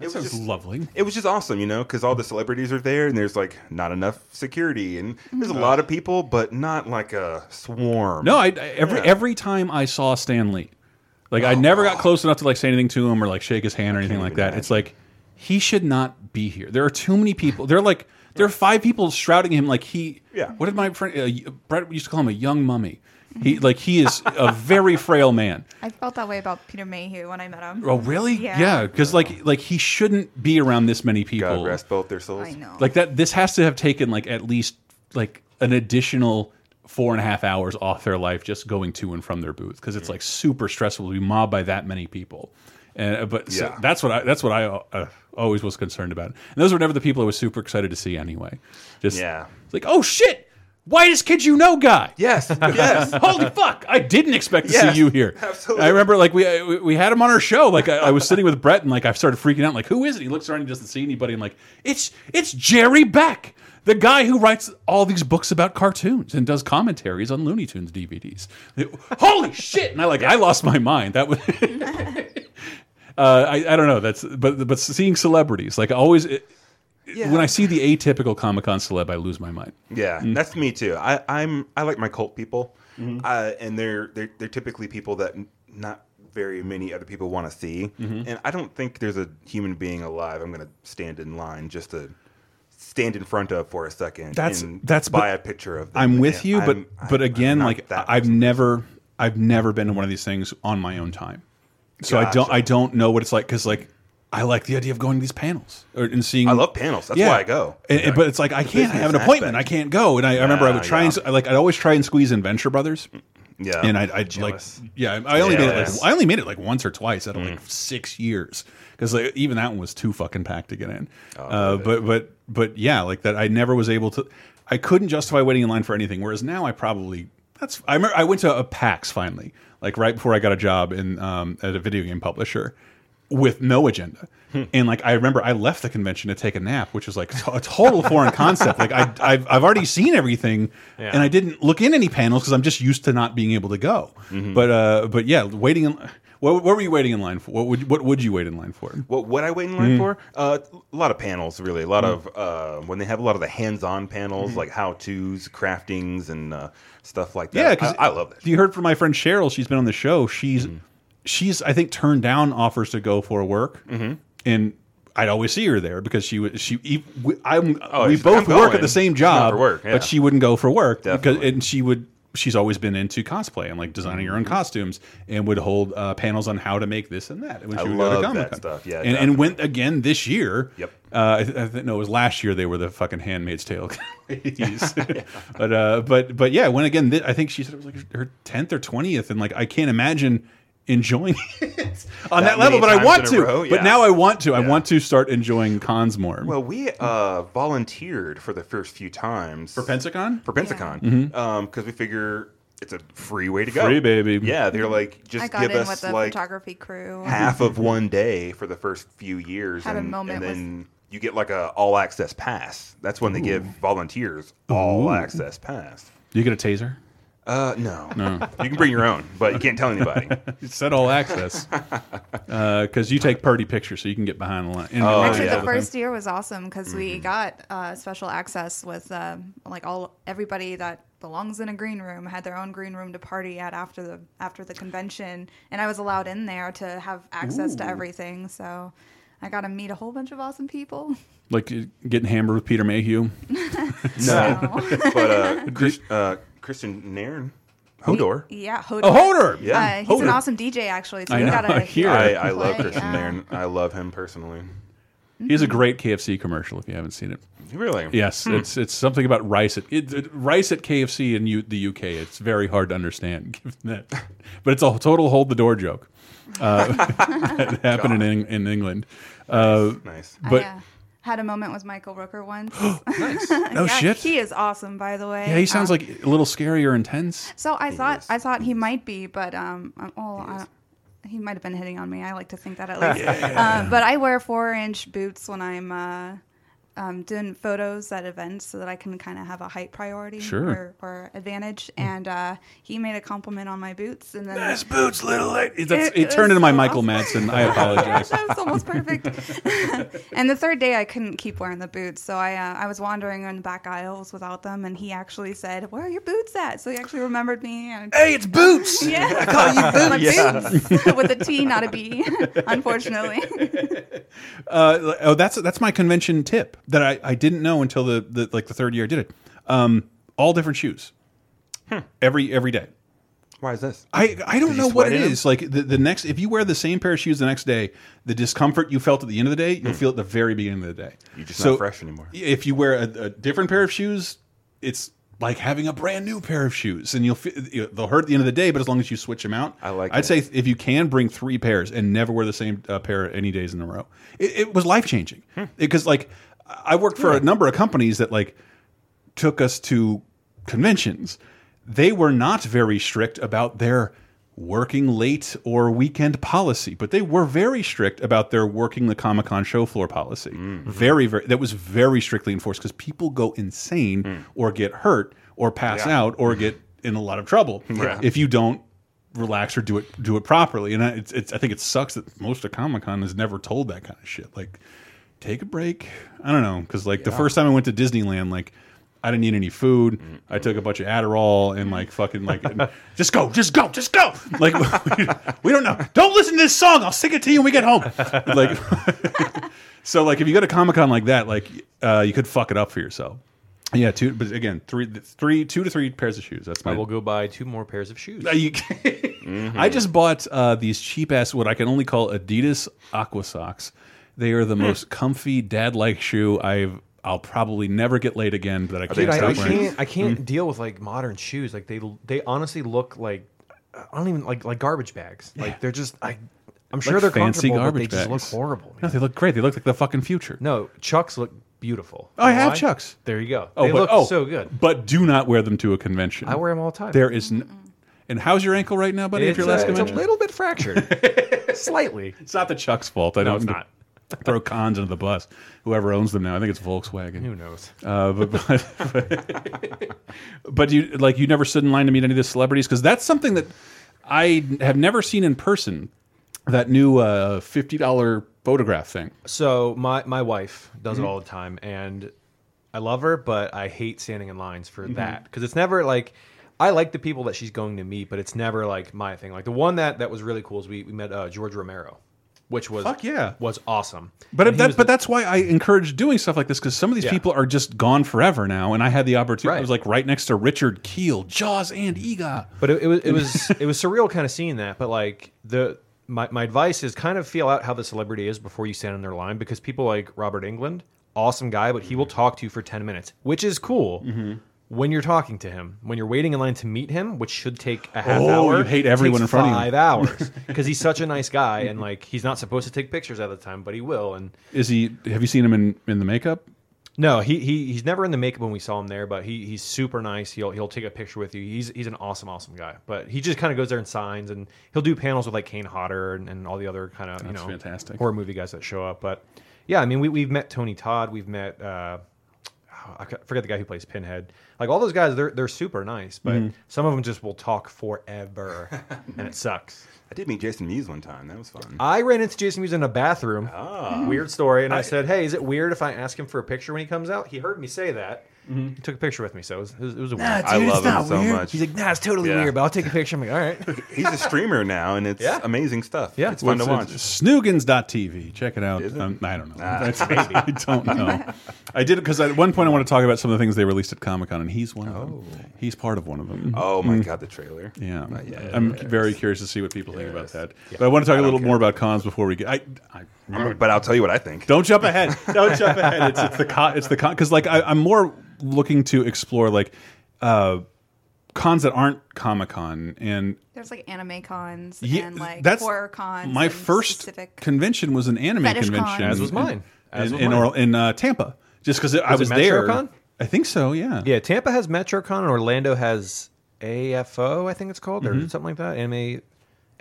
that sounds lovely. it was just awesome, you know, because all the celebrities are there, and there's like not enough security, and there's a lot of people, but not like a Mm-hmm. swarm. No, I, I- every Yeah. Oh. every time I saw Stan Lee, like I never got close enough to like say anything to him or like shake his hand or anything like that. It's like he should not be here. There are too many people. There are like there are five people shrouding him. Like he, Yeah. What did my friend uh, Brett used to call him a young mummy? He like he is a very frail man. I felt that way about Peter Mayhew when I met him. Oh, really? Yeah. because like like he shouldn't be around this many people. God rest both their souls. I know. Like that. This has to have taken like at least like an additional four and a half hours off their life just going to and from their booth because Mm. it's like super stressful to be mobbed by that many people. And uh, but so Yeah. that's what I that's what I uh, always was concerned about. And those were never the people I was super excited to see anyway. Just Yeah. it's like oh shit. Whitest kid you know guy. Yes, yes. Holy fuck! I didn't expect to Yes, see you here. absolutely. I remember like we I- we had him on our show. Like I, I was sitting with Brett and like I started freaking out. Like who is it? He looks around, he doesn't see anybody. I'm like, it's it's Jerry Beck, the guy who writes all these books about cartoons and does commentaries on Looney Tunes DVDs. Holy shit! And I like I lost my mind. That was. Uh, I, I don't know. That's but but seeing celebrities like always it- when I see the atypical Comic Con celeb, I lose my mind. Yeah, Mm. that's me too. I, I'm I like my cult people, Mm-hmm. uh, and they're they're they're typically people that n- not very many other people want to see. Mm-hmm. And I don't think there's a human being alive I'm going to stand in line just to stand in front of for a second. That's- and that's- buy but a picture of. Them. I'm with Yeah, you, but I'm- I'm- but I'm again, not like that I've person. never I've never been to one of these things on my own time, so I don't Gotcha. I don't know what it's like because like I like the idea of going to these panels or, and seeing. I love panels. That's why I go. And- and- but it's like I can't. I have an business appointment. aspect. I can't go. And I, I remember I would Yeah, try and yeah. s- like I'd always try and squeeze in Venture Brothers Yeah, and I, I like, yeah, I only made it Jealous. Mm. like, I only made it like once or twice out of like six years because like even that one was too fucking packed to get in. Oh, uh, but but but yeah, like that, I never was able to. I couldn't justify waiting in line for anything. Whereas now, I probably that's. I remember I went to a PAX finally, like right before I got a job in um, at a video game publisher with no agenda. And like I remember, I left the convention to take a nap, which was like a total foreign concept. Like I, I've, I've already seen everything, Yeah. and I didn't look in any panels because I'm just used to not being able to go. But uh, but yeah, waiting. In, what, what were you waiting in line for? What would what would you wait in line for? What would I wait in line Mhm. for? Uh, a lot of panels, really. A Mm. lot of uh, when they have a lot of the hands-on panels, Mm-hmm. like how-tos, craftings, and uh, stuff like that. Yeah, because I, I love that. Mm-hmm. You heard from my friend Cheryl; she's been on the show. She's she's I think turned down offers to go for work, Mm-hmm. and I'd always see her there because she was she. e- we- I'm Oh, we she's- both I'm work going. at the same She's going job, for work, yeah. but she wouldn't go for work because and she would. She's always been into cosplay and like designing her own Mm-hmm. costumes, and would hold uh, panels on how to make this and that. When I she would go love to that Comic Con. stuff, yeah, and, and went again this year. Yep. Uh, I, th I th no, it was last year. They were the fucking Handmaid's Tale ladies. but uh, but but yeah, when again, thi- I think she said it was like her tenth or twentieth, and like I can't imagine enjoying it on that, That level. many But I times want in a to. row, But yeah. now I want to. I want to start enjoying cons more. Well, we uh, volunteered for the first few times for Pensacon. For Pensacon, because Mhm. we figure it's a free way to go. Free, baby. Yeah, they're like I just got give in us with the like photography crew. half of one day for the first few years, Had a and, moment and then you get like a all access pass. That's when they Ooh. give volunteers all Ooh. access pass. you get a taser. Uh, no, No. you can bring your own, but you can't tell anybody. It said all access because you take purdy pictures, so you can get behind the line. in Oh, line Actually, all the time. first year was awesome because Mm-hmm. we got uh, special access with um, like all everybody that belongs in a green room had their own green room to party at after the after the convention, and I was allowed in there to have access to Ooh. everything. So I got to meet a whole bunch of awesome people. like uh, getting hammered with Peter Mayhew. No, No. but uh, Chris, uh, Kristen Nairn, Hodor. Yeah, Hodor. Oh, Hodor! Yeah, uh, he's an Hodor. awesome DJ actually. So I we know, got to I hear I, it. I love Play, Kristen yeah. Nairn. I love him personally. He's a great KFC commercial if you haven't seen it. Really? Yes, Hmm. it's it's something about rice at it, it- rice at KFC in U, the UK. It's very hard to understand given that, but it's a total hold the door joke uh, that happened in Eng- in England. Uh, nice, I, but uh, had a moment with Michael Rooker once. Nice. yeah, No shit. He is awesome, by the way. yeah, he sounds Um, like a little scary or intense. So I thought I thought he might be, but um, I'm- well, I, he might have been hitting on me. I like to think that at least. Yeah. Um, but I wear four inch boots when I'm uh, um, doing photos at events, so that I can kind of have a height priority Sure. or, or advantage. And uh, he made a compliment on my boots, and then Nice boots, little lady. It, It- it turned it's into my so Michael awesome. Madsen. I apologize. that was almost perfect. and the third day, I couldn't keep wearing the boots, so I uh, I was wandering in the back aisles without them, and he actually said, "Where are your boots at?" So he actually remembered me. And hey, it's boots. yeah, I call you boots. My Yeah. boots with a T, not a B. Unfortunately, Uh, oh, that's that's my convention tip that I, I didn't know until the, the like the third year I did it. Um, all different shoes, Hmm. every every day. Why is this? I I don't Did you know what sweat it in 'em? is. Like the, the next, if you wear the same pair of shoes the next day, the discomfort you felt at the end of the day, you'll feel at the very beginning of the day. Hmm. You're just not fresh anymore. If you wear a, a different pair of shoes, it's like having a brand new pair of shoes, and you'll fe- you- they'll hurt at the end of the day. But as long as you switch them out, I like. I'd say if you can bring three pairs and never wear the same uh, pair any days in a row, it, it was life changing. Hmm. Because like I worked for a number of companies that like took us to conventions, they were not very strict about their working late or weekend policy, but they were very strict about their working the Comic Con show floor policy. Mm, mm-hmm. Very, very that was very strictly enforced because people go insane or get hurt or pass Mm. Yeah. out or get in a lot of trouble Yeah. if you don't relax or do it do it properly. And I, it's, it's I think it sucks that most of Comic Con is never told that kind of shit. Like take a break. I don't know because like the Yeah. first time I went to Disneyland, like I didn't eat any food. I Mm-hmm. took a bunch of Adderall and like fucking like just go, just go, just go. Like we, we don't know. Don't listen to this song. I'll sing it to you when we get home. Like so like if you go to Comic Con like that, like uh, you could fuck it up for yourself. Yeah, two. But again, three, three, two to three pairs of shoes. That's my. I will Mm-hmm. go buy two more pairs of shoes. Uh, you- I just bought uh, these cheap ass what I can only Hmm. call Adidas Aqua socks. They are the most comfy dad like shoe I've I'll probably never get laid again. That I can't Dude, I, stop I wearing. can't. I can't deal with like modern shoes. Like they they honestly look like I don't even like like garbage bags. Like they're just I. I'm sure Like they're fancy comfortable, but garbage they just look bags. horrible. No, they look great. They look like the fucking future. No, Chucks look beautiful. Oh, I have Why? Chucks. Oh, There you go. they look so good. But do not wear them to a convention. I wear 'em all the time. There is, n and how's your ankle right now, buddy? It's, if your uh, last it's a convention, little bit fractured, slightly. It's not the Chuck's fault. I No, don't it's mean to not. throw cons under the bus. Whoever owns them now, I think it's Volkswagen. Who knows? Uh, but but, but you like you never stood in line to meet any of the celebrities because that's something that I have never seen in person. That new uh, fifty dollar photograph thing. So my my wife does Mhm. it all the time, and I love her, but I hate standing in lines for Mhm. that because it's never like I like the people that she's going to meet, but it's never like my thing. Like the one that that was really cool is we we met uh, George Romero, which was Fuck yeah. was awesome. But And he that, was but that's why I encourage doing stuff like this because some of these Yeah. people are just gone forever now. And I had the opportunity. I Right. was like right next to Richard Keel, Jaws, and Ega. But it, it was it was it was surreal kind of seeing that. But like the my, my advice is kind of feel out how the celebrity is before you stand in their line because people like Robert England, awesome guy, but he will Mm-hmm. talk to you for ten minutes, which is cool. When you're talking to him, when you're waiting in line to meet him, which should take a half Oh, hour, you hate everyone takes in front of you. Five hours because he's such a nice guy, and like he's not supposed to take pictures at the time, but he will. And Is he? Have you seen him in in the makeup? no, he, he he's never in the makeup when we saw him there, but he he's super nice. He'll he'll take a picture with you. He's he's an awesome awesome guy. But he just kind of goes there and signs, and he'll do panels with like Kane Hodder and, and all the other kind of you That's know fantastic. horror movie guys that show up. But yeah, I mean we we've met Tony Todd, we've met uh, oh, I ca- forget the guy who plays Pinhead. Like all those guys, they're they're super nice, but Mhm. some of them just will talk forever, and it sucks. I did meet Jason Mewes one time. That was fun. I ran into Jason Mewes in a bathroom. Ah. Weird story. And I, I- said, Hey, is it weird if I ask him for a picture when he comes out? He heard me say that. He took a picture with me. So it was, it was, it was a weird Nah, dude, I it's love him not so weird. much. Mm-hmm. He's like, Nah, it's totally Yeah. weird, but I'll take a picture. I'm like, All right. He's a streamer now, and it's Yeah. amazing stuff. Yeah. it's fun Well, to watch. Snoogans.tv. Check it out. Is it? Um, I don't know. Ah. That's- I don't know. I did it because at one point I want to talk about some of the things they released at Comic Con, and he's one of them. He's part of one of them. Oh Uh, my Mm. god, the trailer! Yeah, yes. I'm very curious to see what people think about that. Yeah. But I want to talk I a don't little care. more about cons before we get. I, I remember, but I'll tell you what I think. Don't jump ahead. Don't jump ahead. It's, it's the con. It's the con because like I, I'm more looking to explore like uh, cons that aren't Comic Con and There's like anime cons yeah, and like that's horror cons. My and first specific. convention was an anime Fetish convention, cons. As was in- mine. As in was in, mine. Oral- in, uh, Tampa, just because I Was it was there. MetroCon? I think so. Yeah. yeah. Tampa has MetroCon and Orlando has AFO, I think it's called, or Mhm. Oh, something like that. Anime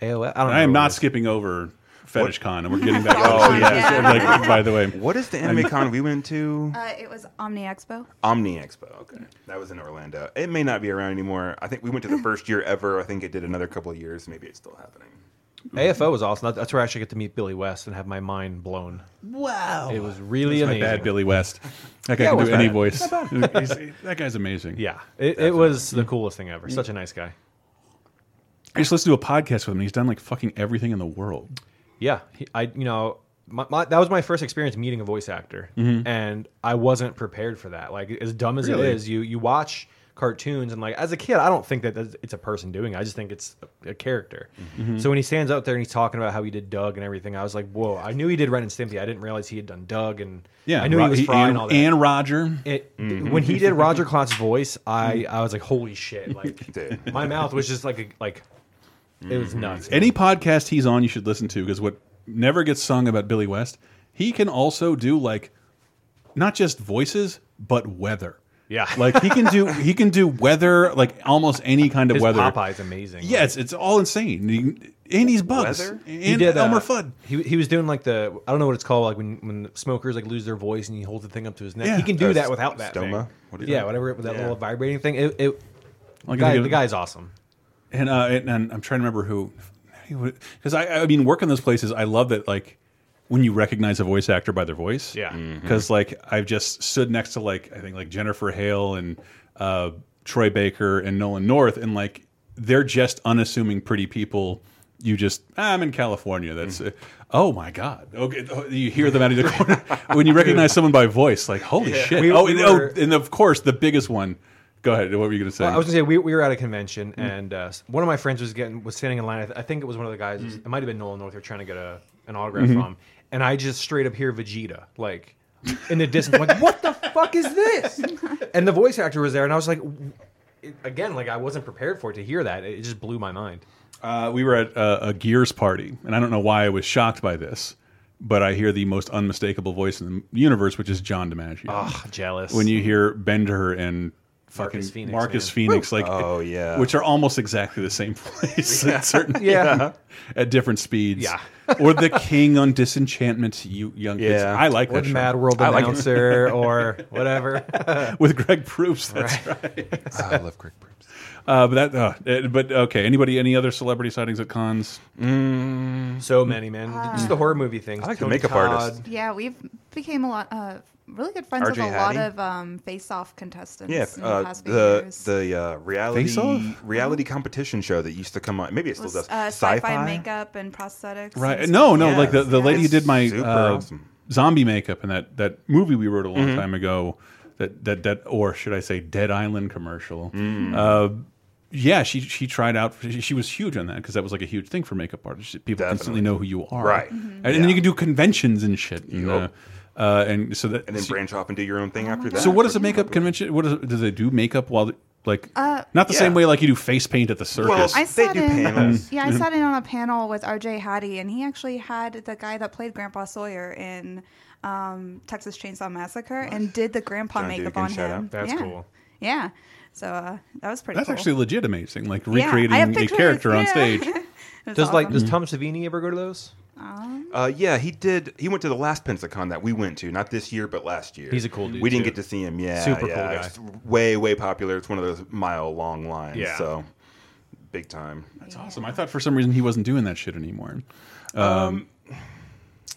AOL. I don't know. I am what it not is. skipping over Fetish What- Con, and we're getting back. to Oh, this, yeah. like, by the way, What is the anime con we went to? Uh, it was Omni Expo. Omni Expo. Okay, that was in Orlando. It may not be around anymore. I think we went to the first year ever. I think it did another couple of years. Maybe it's still happening. AFO was awesome. That- That's where I actually get to meet Billy West and have my mind blown. Wow. It was really That's my amazing. bad Billy West. That guy Yeah, it can was do any bad. voice. Not bad. He's- that guy's amazing. Yeah. It, it was the coolest thing Mm-hmm. ever. Such a nice guy. I just listened to a podcast with him. and He's done like fucking everything in the world. Yeah, he, I you know my, my, that was my first experience meeting a voice actor, Mhm. and I wasn't prepared for that. Like as dumb as Really? it is, you you watch cartoons and like as a kid, I don't think that that's- it's a person doing. it. I just think it's a, a character. Mhm. So when he stands out there and he's talking about how he did Doug and everything, I was like, whoa! I knew he did Ren and Stimpy. I didn't realize he had done Doug and Yeah, I knew Ro- he was Fry and- and all that. and Roger. It- Mhm. when he did Roger Klotz's voice, I I was like, holy shit! Like my mouth was just like a, like it Mm-hmm. was nuts. Any podcast he's on, you should listen to because what never gets sung about Billy West, he can also do like not just voices but weather. Yeah. like he can do he can do weather like almost any kind of His weather. Popeye's amazing. Yeah, it's, it's all insane. You- And he's bugs. Weather? And he did Elmer uh, Fudd. He, he was doing like the I don't know what it's called like when when smokers like lose their voice and he holds the thing up to his neck. Yeah. He can do Uh, that without that. stoma? Thing. What is yeah, that? whatever with that Yeah. little vibrating thing. It, it Like, guy, they- the guy's awesome. And, uh, and and I'm trying to remember who, because I I mean working those places I love that like when you recognize a voice actor by their voice Yeah. Mhm. because like I've just stood next to like I think like Jennifer Hale and uh, Troy Baker and Nolan North and like they're just unassuming pretty people. You just "Ah, I'm in California. That's Mm-hmm. uh, oh my god. Okay, oh, you hear them out of the corner when you recognize someone by voice. Like holy Yeah. shit. We- oh, we and, oh, were- and of course the biggest one. Go ahead. What were you going to say? I was gonna say we, we were at a convention Mm. and uh, one of my friends was getting was standing in line. I, th- I think it was one of the guys. Mm. It might have been Nolan North. They're trying to get a an autograph Mhm. from, and I just straight up hear Vegeta like in the distance. like what the fuck is this? And the voice actor was there, and I was like, w- it- again, like I wasn't prepared for it to hear that. It just blew my mind. Uh, we were at a, a Gears party, and I don't know why I was shocked by this, but I hear the most unmistakable voice in the universe, which is John DiMaggio. Ah, jealous. When you hear Bender and fucking Marcus Phoenix, Marcus man. Phoenix, Woo. like Oh, yeah. which are almost exactly the same place Yeah. at certain Yeah. at different speeds. Yeah. or the King on Disenchantment, you young kids. I like Or that. the show. Mad World I like it. announcer or whatever. with Greg Proops. That's right. I love Greg Proops. Uh, but that, uh, eh, but okay. Anybody, any other celebrity sightings at cons? So many, man. Just the horror movie things. I like the Tony makeup Todd. artist. Yeah, we've became a lot uh, really good friends RJ with a lot Hattie? of um, face-off contestants. Yeah, in the uh, past few the years. the uh, reality Face Off? reality competition show that used to come on. Maybe it still Was, does. uh, sci-fi, makeup and prosthetics. Right? and No, stuff. no. Like the, the lady who did my Super uh, awesome. zombie makeup in that that movie we wrote a long Mhm. time ago. That that that or should I say Dead Island commercial? Mm. Uh, yeah, she she tried out. She, she was huge on that because that was like a huge thing for makeup artists. People instantly know who you are, Right. Mm-hmm. And, and then you can do conventions and shit. And, Yup. uh, uh, and so that and then so- branch off and do your own Oh thing after that. So what is a makeup convention? What is do they do makeup while like Uh, not the Yeah. same way like you do face paint at the circus? Mm. I sat in, Yeah, I sat in on a panel with R.J. Hattie, and he actually had the guy that played Grandpa Sawyer in um, Texas Chainsaw Massacre, and did the grandpa John makeup Dugan, on shout him. out. That's yeah. cool. Yeah, so uh, that was pretty. That's cool. actually legit amazing. Like Yeah, I have recreating a pictures, character on yeah. stage. It was Does like does Mm. awesome. Tom Savini ever go to those? Um, Uh, yeah, he did. He went to the last Pensacon that we went to, not this year, but last year. He's a cool dude, We didn't too. get to see him. Yeah, Super yeah, cool guy. It's way, way popular. It's one of those mile long lines. Yeah. so big time. That's awesome. I thought for some reason he wasn't doing that shit anymore. Um,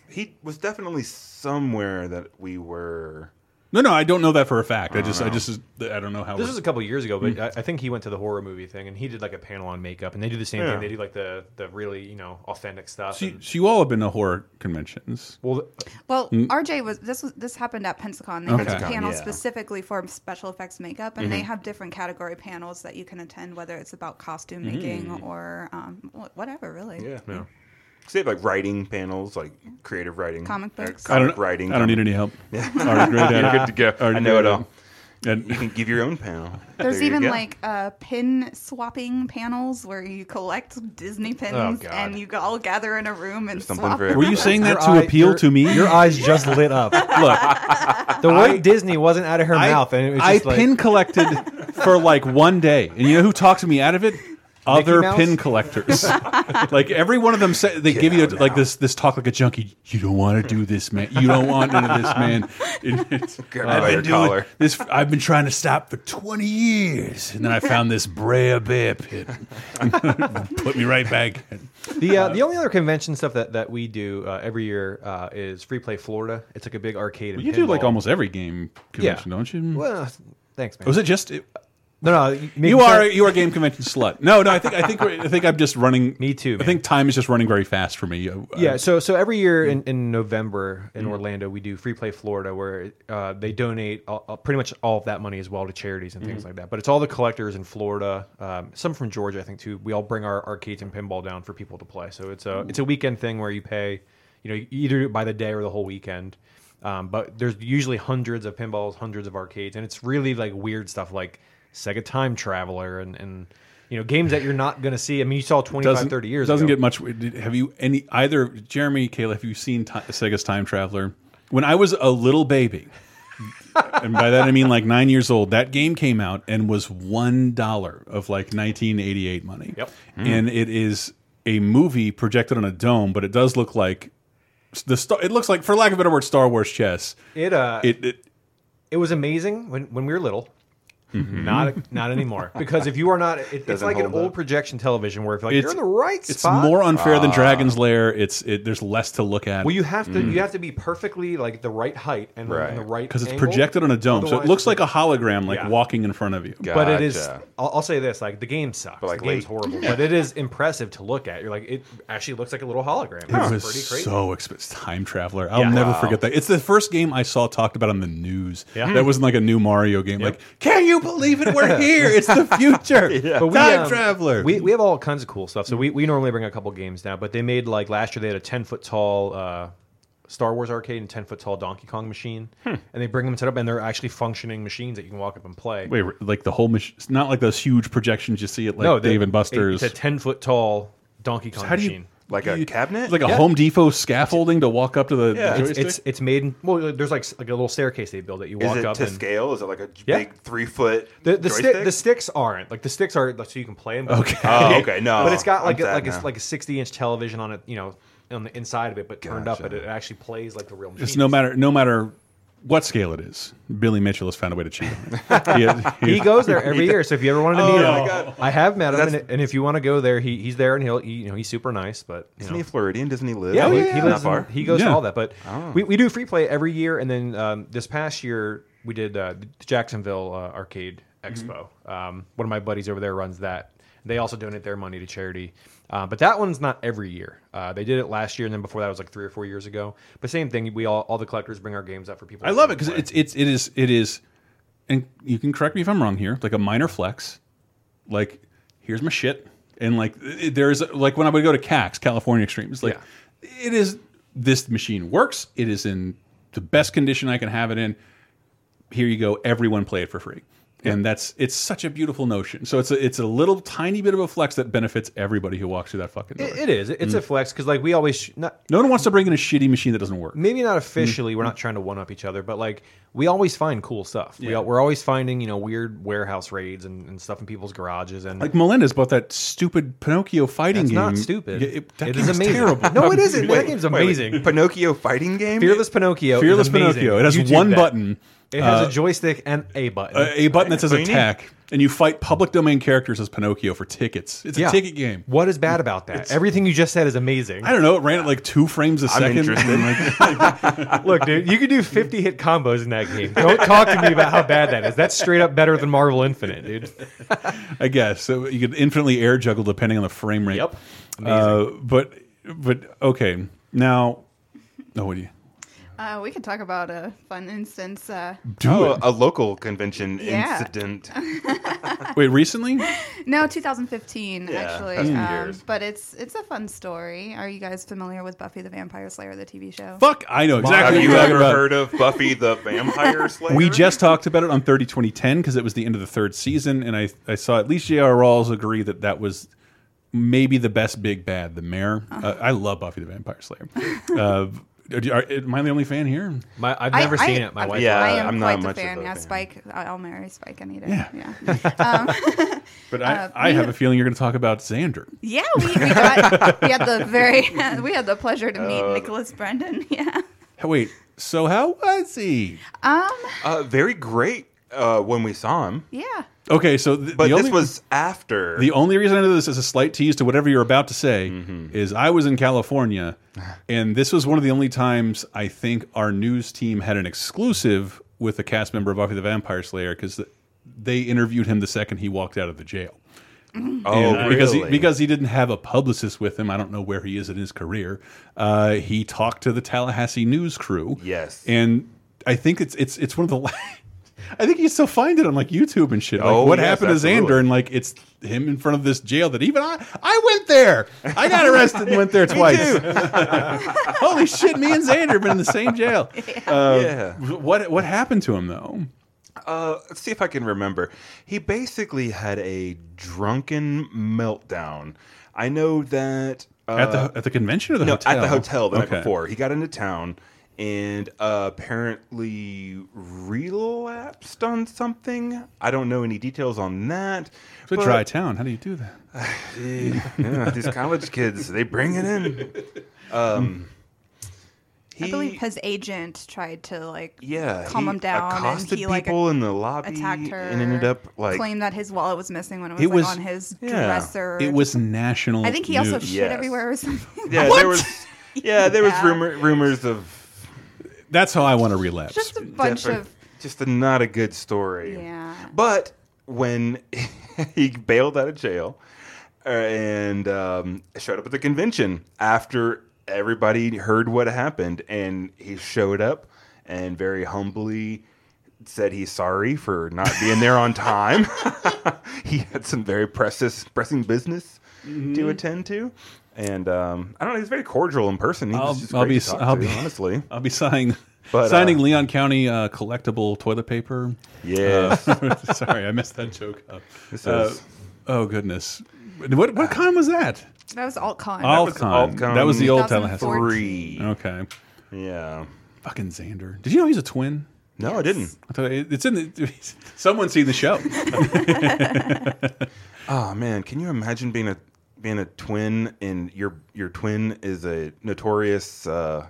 He was definitely somewhere that we were. no, no, I don't know that for a fact. I, I don't just, I know. just, I don't know how. This we're- was a couple years ago, but Mm. I, I think he went to the horror movie thing and he did like a panel on makeup, and they do the same Yeah. thing. They do like the the really you know authentic stuff. so, you, so you all have been to horror conventions. Well, Well, Mm. R.J. was this was this happened at Pensacon. They Okay. had a Pensacon, panel yeah. specifically for special effects makeup, and they Mhm. have different category panels that you can attend, whether it's about costume Mm-hmm. making Mm. or um, wh- whatever, really. Yeah, no. So they have like writing panels, like creative writing, Comic uh, books. comic I don't, writing. I don't need comic- any help. Yeah. Already great at You're it. good to go. Already I know great it at all. you can give your own panel. There's There you even go. like uh, pin swapping panels where you collect Disney pins Oh, God. and you all gather in a room and something swap. for Were you saying that Your to eye- appeal your- to me? Your eyes just lit up. Look, the word I- Disney wasn't out of her I- mouth, and it was I just like, pin collected for like one day, and you know who talks me out of it? Other Mouse? pin collectors. like every one of them, say, they give you a, like this this talk like a junkie. You don't want to do this, man. You don't want none of this, man. It- it's- Grab by your collar. this. I've been trying to stop for twenty years, and then I found this Brea Bear pit. Put me right back. the uh, the only other convention stuff that that we do uh, every year uh, is Free Play Florida. It's like a big arcade. and you do like pinball. almost every game convention, don't you? Well, thanks, man. Was it just? It, No, no. You are you are a game convention slut. No, no. I think I think we're- I think I'm just running. Me too. I think time is just running very fast for me. Uh, Yeah, so so every year in, in November in Orlando we do Free Play Florida, where uh, they donate all, all- pretty much all of that money as well to charities and things Mhm. like that. But it's all the collectors in Florida, um, some from Georgia, I think too. We all bring our arcades and pinball down for people to play. So it's a it's a weekend thing where you pay, you know, you either do it by the day or the whole weekend. Um, but there's usually hundreds of pinballs, hundreds of arcades, and it's really like weird stuff like Sega Time Traveler and and you know games that you're not going to see. I mean, you saw 25, doesn't 30 years doesn't ago. get much. did- Have you any either Jeremy Kayla? Have you seen Ti- Sega's Time Traveler? When I was a little baby, and by that I mean like nine years old, that game came out and was one dollar of like 1988 money. Yep, Mm. and it is a movie projected on a dome, but it does look like the star. It looks like, for lack of a better word, Star Wars chess. It uh It- it it was amazing when, when we were little. Mm-hmm. Not not anymore because if you are not, it, it's Doesn't like an hold old projection television where if you're like you're in the right it's spot. more unfair than Ah. Dragon's Lair. It's it, there's less to look at. Well, you have to you have to be perfectly like the right height and, the- and the Mm. right because it's angle. projected on a dome, so it Otherwise- looks like a hologram, like Yeah. walking in front of you. But it is. I'll, I'll say this: like the game sucks, like, the late. game's horrible, Yeah. but it is impressive to look at. You're like it actually looks like a little hologram. It It's was pretty crazy. so expensive. Time Traveler. I'll Yeah. never Wow. forget that. It's the first game I saw talked about on the news. Yeah. That wasn't like a new Mario game. Like, can you believe it? We're here. It's the future. But we, Time um, Traveler. We, we have all kinds of cool stuff. So we, we normally bring a couple games now, but they made like last year they had a ten foot tall uh, Star Wars arcade and ten foot tall Donkey Kong machine, Hmm. and they bring them set up, and they're actually functioning machines that you can walk up and play. Wait, like the whole machine? It's not like those huge projections you see at like the- Dave and Buster's. It's a ten foot tall Donkey Kong how do you- machine. Like a cabinet? It's like a Home Depot scaffolding to walk up to the, the Yeah, it's, joystick. it's it's made. In, well, there's like s- like a little staircase they build that you Is walk it up to and scale? Is it like a j- Yeah. big three foot The, the, joystick? stick, the sticks aren't like the sticks are like, so you can play them. Okay. Uh, Oh, okay, no, But it's got like I'm a, sad like a, now. like a sixty inch television on it, you know, on the inside of it, but turned up, but it actually plays like the real machine. It's no matter no matter what scale it is. Billy Mitchell has found a way to cheat. On it. He, goes there every year, so if you ever wanted to Oh, meet my him, I have met him, and, and if you want to go there, he, he's there, and he'll he, you know he's super nice, but you Isn't know. he a Floridian? Doesn't he live? Yeah, he, like, he not lives. in- far? he goes Yeah. to all that, but Oh. we, we do free play every year, and then um, this past year we did uh, the Jacksonville uh, Arcade Expo. Um, one of my buddies over there runs that. They also donate their money to charity, uh, but that one's not every year. Uh, they did it last year, and then before that was like three or four years ago. But same thing, we all all the collectors bring our games up for people. I to love it play. because it's it's it is it is, and you can correct me if I'm wrong here. Like a minor flex, like here's my shit, and like it- there's like when I would go to CAX California Extremes, like it is this machine works. It is in the best condition I can have it in. Here you go, everyone play it for free. And that's it's such a beautiful notion. So it's a, it's a little tiny bit of a flex that benefits everybody who walks through that fucking door. It- it is. It's a Mm. flex because like we always sh- not no one wants to bring in a shitty machine that doesn't work. maybe not officially Mm. we're not trying to one up each other but like we always find cool stuff we, al- we're always finding you know weird warehouse raids and, and stuff in people's garages and Like Melinda's bought that stupid Pinocchio fighting That's game. not stupid. Yeah, it, that It game is is amazing. terrible. No, it isn't. That Wait, game's wait, wait. amazing. Pinocchio fighting game. fearless pinocchio is Fearless amazing. Pinocchio. It has YouTube one that. button. it has Uh, a joystick and a button A, a button that says All you need. attack, and you fight public domain characters as Pinocchio for tickets. It's Yeah. a ticket game. what is bad about that It's- everything you just said is amazing I don't know. It ran at like two frames a I'm second. interested. and, like, Look, dude, you can do 50 hit combos in that game. Don't talk to me about how bad that is. That's straight up better than Marvel Infinite, dude. I guess so you could infinitely air juggle depending on the frame rate. Yep. Uh, but but okay now. No, what do you? Uh, we could talk about a fun instance. Uh, Do oh, it. a local convention Yeah. incident. Wait, recently? no, 2015 Yeah, actually, that's been um, years. but it's it's a fun story. Are you guys familiar with Buffy the Vampire Slayer, the TV show? Fuck, I know exactly. Have you what you're talking ever about. heard of Buffy the Vampire Slayer? We just talked about it on 30 2010 because it was the end of the third season, and I, I saw at least J.R. Rawls agree that that was maybe the best big bad, the mayor. Uh-huh. Uh, I love Buffy the Vampire Slayer. uh, are, are- am I the only fan here? My, I've I- never I- seen it. My I'm- wife. I am quite the fan. yeah, Spike. I- I'll marry Spike any day. Yeah. Um, But I, uh, I we have had- a feeling you're going to talk about Xander. Yeah, we, we got we had the very we had the pleasure to meet Oh. Nicholas Brendan. Yeah. Hey, Wait, so how was he? Um. Uh, very great uh, when we saw him. Yeah. Okay, so th- But the this only- was after. The only reason I know this is a slight tease to whatever you're about to say Mm-hmm. is I was in California, and this was one of the only times I think our news team had an exclusive with a cast member of Buffy the Vampire Slayer because they interviewed him the second he walked out of the jail. And Mm-hmm. Oh, because he, because he didn't have a publicist with him. I don't know where he is in his career. Uh, he talked to the Tallahassee news crew. Yes. and I think it's it's it's one of the. la- I think you still find it on like YouTube and shit. Like, Oh, what yes, happened to absolutely. Xander? And like, it's him in front of this jail that even I I went there. I got arrested and went there Me twice. too. Holy shit! Me and Xander have been in the same jail. Uh, Yeah. What what happened to him though? Uh, let's see if I can remember. He basically had a drunken meltdown. I know that uh, At the- at the convention or the no, at the hotel? hotel the Okay. night before. He got into town and uh, apparently relapsed on something. I don't know any details on that. It's a but- dry town. How do you do that? yeah, these college kids, they bring it in. Um, I believe his agent tried to like yeah, calm he him down accosted and he like people in the lobby attacked her and ended up like claimed that his wallet was missing when it was, It like, was- on his yeah. dresser. It was national. I think he also news. shit everywhere or something. Yeah, there was. Yeah, there was rumor, rumors of That's how I want to relapse. Just a bunch of- just a, not a good story. Yeah. But when he bailed out of jail uh, and um, showed up at the convention after everybody heard what happened, and he showed up and very humbly said he's sorry for not being there on time. he had some very precious, pressing business to Mhm. attend to. And um, I don't know. He's very cordial in person. He I'll, was just I'll great be to talk I'll to, be honestly. I'll be signing But, uh, signing Leon County uh, collectible toilet paper. Yes. Uh, sorry, I messed that joke up. This Uh, is- oh goodness, what what con was that? That was AltCon. Altcon. That was the old Tallahassee. 2014. Okay. Yeah. Fucking Xander. Did you know he's a twin? No, I didn't. I thought it- it's in the. Someone's seen the show. Oh man, can you imagine being a being a twin and your your twin is a notorious uh,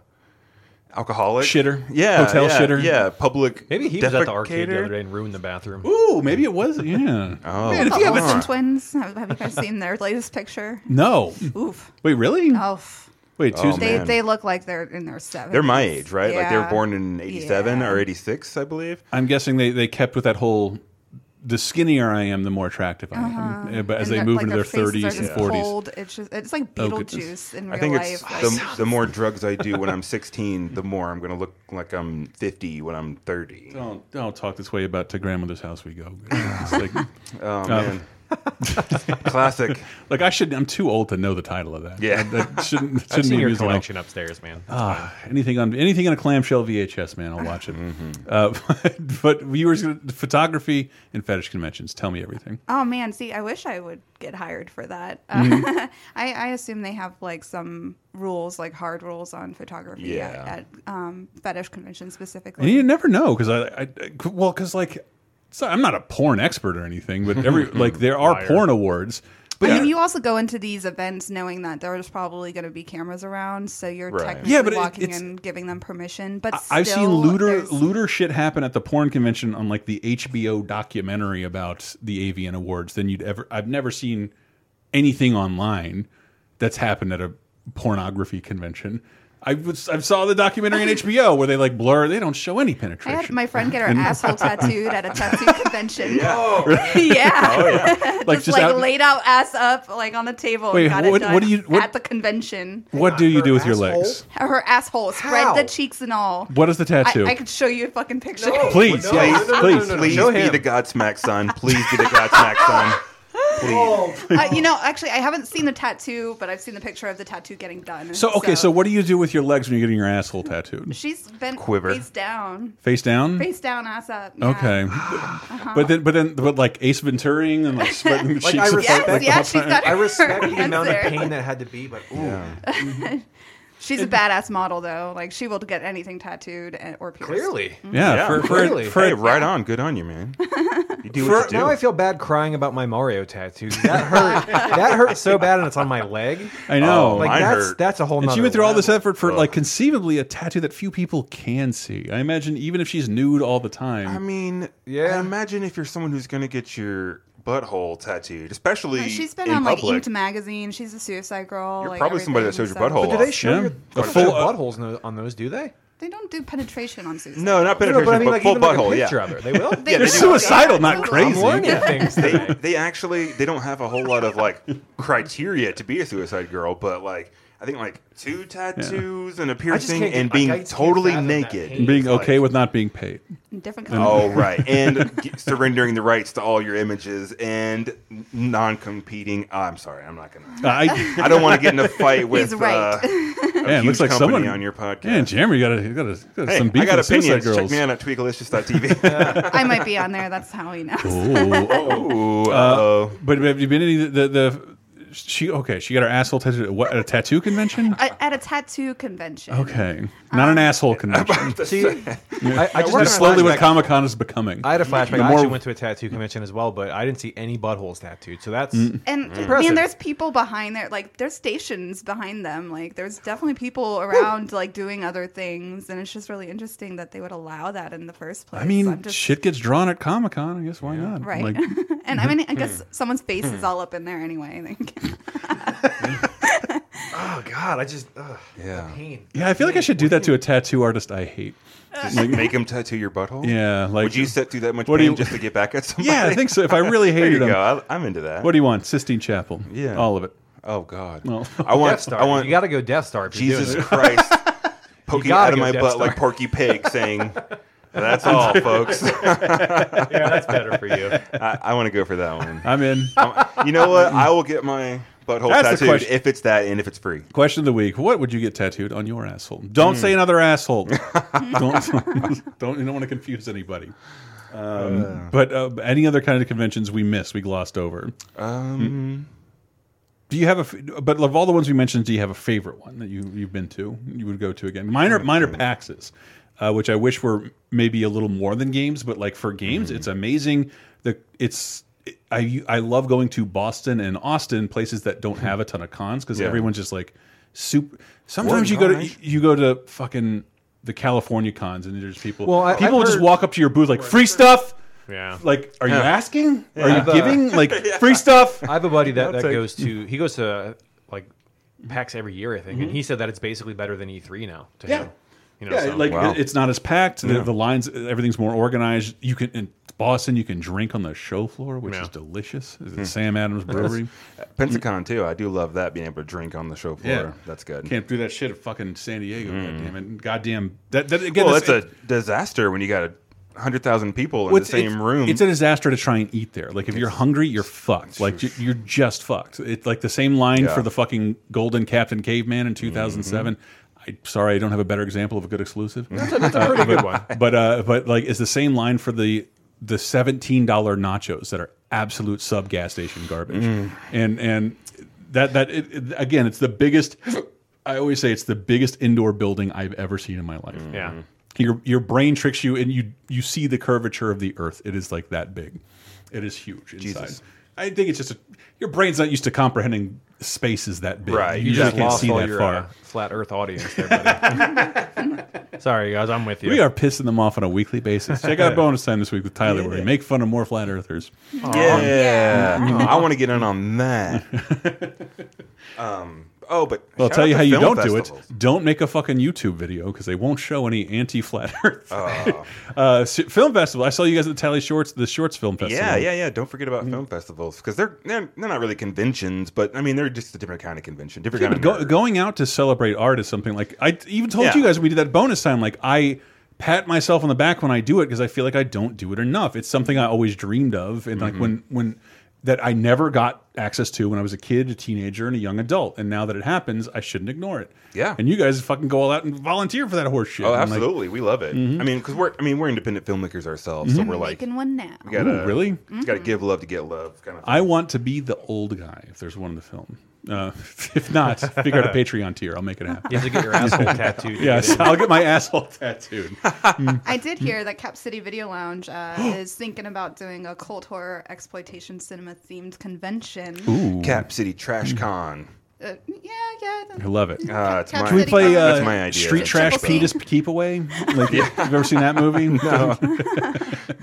alcoholic Shitter. Yeah, Hotel yeah, shitter. Yeah, public. Maybe he was at the arcade the defecator. other day and ruined the bathroom. Ooh, maybe it was. Yeah. Oh. Man, if The you have Olsen a, twins. Have, have you guys seen their latest picture? no. Oof. Wait, really? Oh, Wait, Oh, Tuesday. they man. they look like they're in their 70s. They're my age, right? Like they were Yeah. born in '87 Yeah. or '86, I believe. I'm guessing they, they kept with that whole the skinnier I am, the more attractive I am. Yeah, But as Uh-huh. And they their- move like into their faces are 30s and just 40s. Cold. It's just it's like Oh, goodness. Beetlejuice in real I think it's life. the, the more drugs I do when I'm 16, the more I'm going to look like I'm 50 when I'm 30. Oh. Don't, don't talk this way about to grandmother's house we go. It's like, Oh man, classic. like I should. I'm too old to know the title of that. Yeah. that shouldn't shouldn't I've seen be your used at all. collection upstairs, man. Ah, anything on anything on a clamshell VHS, man, I'll watch it. Mm-hmm. uh, but, but viewers, photography and fetish conventions, tell me everything. Oh man, see, I wish I would get hired for that. Mm-hmm. Uh, I, I assume they have like some rules, like hard rules on photography Yeah. at, at um, fetish conventions And specifically. you never know because I, I, well, because like, so I'm not a porn expert or anything, but every like there are Liar. porn awards. But I mean, you also go into these events knowing that there's probably going to be cameras around, so you're Right. technically Yeah, but it- walking it's- and giving them permission. But I- I've seen still, looter there's- looter shit happen at the porn convention on like the HBO documentary about the Avian Awards than you'd ever. I've never seen anything online that's happened at a pornography convention. I was I saw the documentary on HBO where they like blur. They don't show any I penetration. had my friend get her asshole tattooed at a tattoo convention. Yeah, Oh. just, like out- laid out ass up like on the table. Wait, and got what- it done what do you- what- at the convention? what do you do with your legs? Her asshole, spread How? the cheeks and all. What is the tattoo? I, I could show you a fucking picture. Uh, Please, No, yes, no, no, no, please. no, no, no. Please Show be him. the Godsmack son. Please be the Godsmack son. Please. Uh, you know, actually, I haven't seen the tattoo, but I've seen the picture of the tattoo getting done. So okay, so what do you do with your legs when you're getting your asshole tattooed? she's bent Quiver. face down, Face down. face down, ass up. yeah. Okay, Uh-huh. but then, but then, but like Ace Venturing and like spreading Like, sheets I of respect- paper Yes, the yeah, whole she's time. got. I her respect the hands amount of there. pain that had to be, but ooh, Uh, She's a badass model, though. Like she will get anything tattooed and, or pierced. clearly. Yeah, Yeah, for, for, really. for hey, right on. Good on you, man. You do For- what you do. now I feel bad crying about my Mario tattoo. That hurt. that hurt so bad, and it's on my leg. I know. Oh, Like Mine that's hurt. that's a whole. and she nother went through all this level. effort for like conceivably a tattoo that few people can see. I imagine even if she's nude all the time. I mean, Yeah. I imagine if you're someone who's going to get your butthole tattooed, especially Uh, She's been in on like public. Inked magazine. She's a suicide girl. You're like, probably somebody that everything, shows your so- butthole. But do they show Yeah. your A a full- full buttholes in those, on those? Do they? They don't do penetration on suicide. no, not girls. penetration, but I mean, but like full even like butthole. a picture yeah. of her. They will. They They're do. suicidal, not totally. crazy. I'm learning things they, today. they actually they don't have a whole lot of like criteria to be a suicide girl, but like I think like two tattoos and a piercing can't get- and like, being I just can't totally fathom that naked. pain. being It's like- okay with not being paid. Different Oh color. right, and g- surrendering the rights to all your images and non-competing. uh, I'm sorry, I'm not gonna. I, I don't want to get in a fight with. He's right. Uh, man, looks like company someone on your podcast. Man, Jeremy got, a, got, a, got hey, some beef I got with Suicide opinions. Girls. Check me out at tweakalicious.tv. Oh. I might be on there. That's how he knows. Ooh. Ooh, uh, uh-oh. but have you been any the, the the she okay? She got her asshole tattooed at, what, at a tattoo convention. At, at a tattoo convention. okay, not an asshole convention. See, I, I just, we're had a That's slowly what flashback. Comic Con is becoming. I had a flashback. The I more- actually went to a Mm. tattoo convention as well, but I didn't see any buttholes tattooed. So that's And Impressive. man, there's people behind there. Like there's stations behind them. Like there's definitely people around like doing other things, and it's just really interesting that they would allow that in the first place. I mean, I'm just- shit gets drawn at Comic Con. I guess why not? Right. Like, and I mean, I guess someone's face is all up in there anyway. I think. oh god, I just ugh, Yeah. pain. yeah, I feel like I should do that to a tattoo artist I hate. Just make him tattoo your butthole. Yeah, like Would you sit through that much What pain do you- just to get back at somebody? Yeah, I think so. If I really There you hated them, go. I, I'm into that. what do you want? Sistine Chapel. Yeah. all of it. oh God. Well. I want. Death Star. I want you got to go Death Star. If you're Jesus doing it. Christ poking gotta out of go my Death butt Star. like Porky Pig, saying, "That's all, folks." I, yeah, that's better for you. I want to go for that one. I'm in. you know what? I will get my Butthole That's the tattooed question. if it's that and if it's free. Question of the week: What would you get tattooed on your asshole? Don't Hmm. say another asshole. don't, don't you don't want to confuse anybody. Um, Uh. But uh, any other kind of conventions we missed, we glossed over. Hmm. Um, do you have a? f- But of all the ones we mentioned, do you have a favorite one that you you've been to? You would go to again? Mine are mine are PAXs, uh, which I wish were maybe a little more than games. But like for games, Hmm. it's amazing. The it's. I, I love going to Boston and Austin, places that don't have a ton of cons, because Yeah. everyone's just like super. Sometimes you go Orange. to you go to fucking the California cons, and there's people. Well, I- I've people just heard- walk up to your booth like free stuff. Yeah. Like, are you Yeah. asking? Yeah. Are I've, you uh, giving? Like Yeah. free stuff. I have a buddy I'll that, that take- Mm. goes to he goes to like PAX every year, I think, and he said that it's basically better than E3 now. To Mm-hmm. Yeah. him. You know, yeah, so- like it's not as packed. The, Yeah. the lines, everything's more organized. You can in Boston, you can drink on the show floor, which is delicious. Is it Sam Adams Brewery? Pensacon too. I do love that being able to drink on the show floor. That's good. Can't do that shit at fucking San Diego. Goddamn it! Goddamn that. that again, well, that's- it's Oh, a disaster when you got a hundred thousand people in Well, the same room. It's a disaster to try and eat there. Like if you're hungry, you're fucked. Like j- you're just fucked. It's like the same line Yeah. for the fucking Golden Captain Caveman in Mm-hmm. 2007. I sorry, I don't have a better example of a good exclusive. That's a- that's a pretty but, good one. But uh, but like it's the same line for the the seventeen dollar nachos that are absolute sub gas station garbage. Mm. And and that that it, it- again, it's the biggest. I always say it's the biggest indoor building I've ever seen in my life. Mm. Yeah. Your your brain tricks you, and you you see the curvature of the Earth. It is like that big. It is huge inside. Jesus. I think it's just a, your brain's not used to comprehending spaces that big. Right, You, you just just can't lost see all that your, far. uh, flat Earth audience there, buddy. Sorry, guys, I'm with you. We are pissing them off on a weekly basis. Check out bonus time this week with Tyler, where we Yeah. make fun of more flat earthers. yeah, Mhm. Mm-hmm. I want to get in on that. um, oh, but Well, I'll shout tell out you to how you film don't do festivals. it. Don't make a fucking YouTube video because they won't show any anti flat Earth. uh, s- film festival. I saw you guys at the Tally Shorts, the Shorts Film Festival. Mm-hmm. Yeah, yeah, yeah. Don't forget about film festivals because they're, they're they're not really conventions, but I mean they're just a different kind of convention, different Yeah, kind but go, of going out to celebrate art is something like I even told Yeah. you guys when we did that bonus time. Like I pat myself on the back when I do it because I feel like I don't do it enough. It's something I always dreamed of, and like Mhm. when when that I never got access to when I was a kid, a teenager, and a young adult. And now that it happens, I shouldn't ignore it. Yeah. and you guys fucking go all out and volunteer for that horse shit. Oh, And, like, absolutely, we love it. Mhm. I mean, because we're I mean we're independent filmmakers ourselves, so Mhm. we're like Making Mm-hmm. one now. we gotta Ooh, really? we gotta give love to get love kind of. I want to be the old guy if there's one in the film. Uh, if not, figure out a Patreon tier. I'll make it happen. You have to get your asshole tattooed to yes, get in. I'll get my asshole tattooed. Mm. I did hear that Cap City Video Lounge uh, is thinking about doing a cult horror exploitation cinema themed convention. Ooh. Cap City Trash Mm-hmm. Con. Uh, yeah, yeah. I love it. Ah, it's my- Can we play uh, that's my idea. Street Trash Triple C. Penis Keep Away? Like, Have you ever seen that movie? No.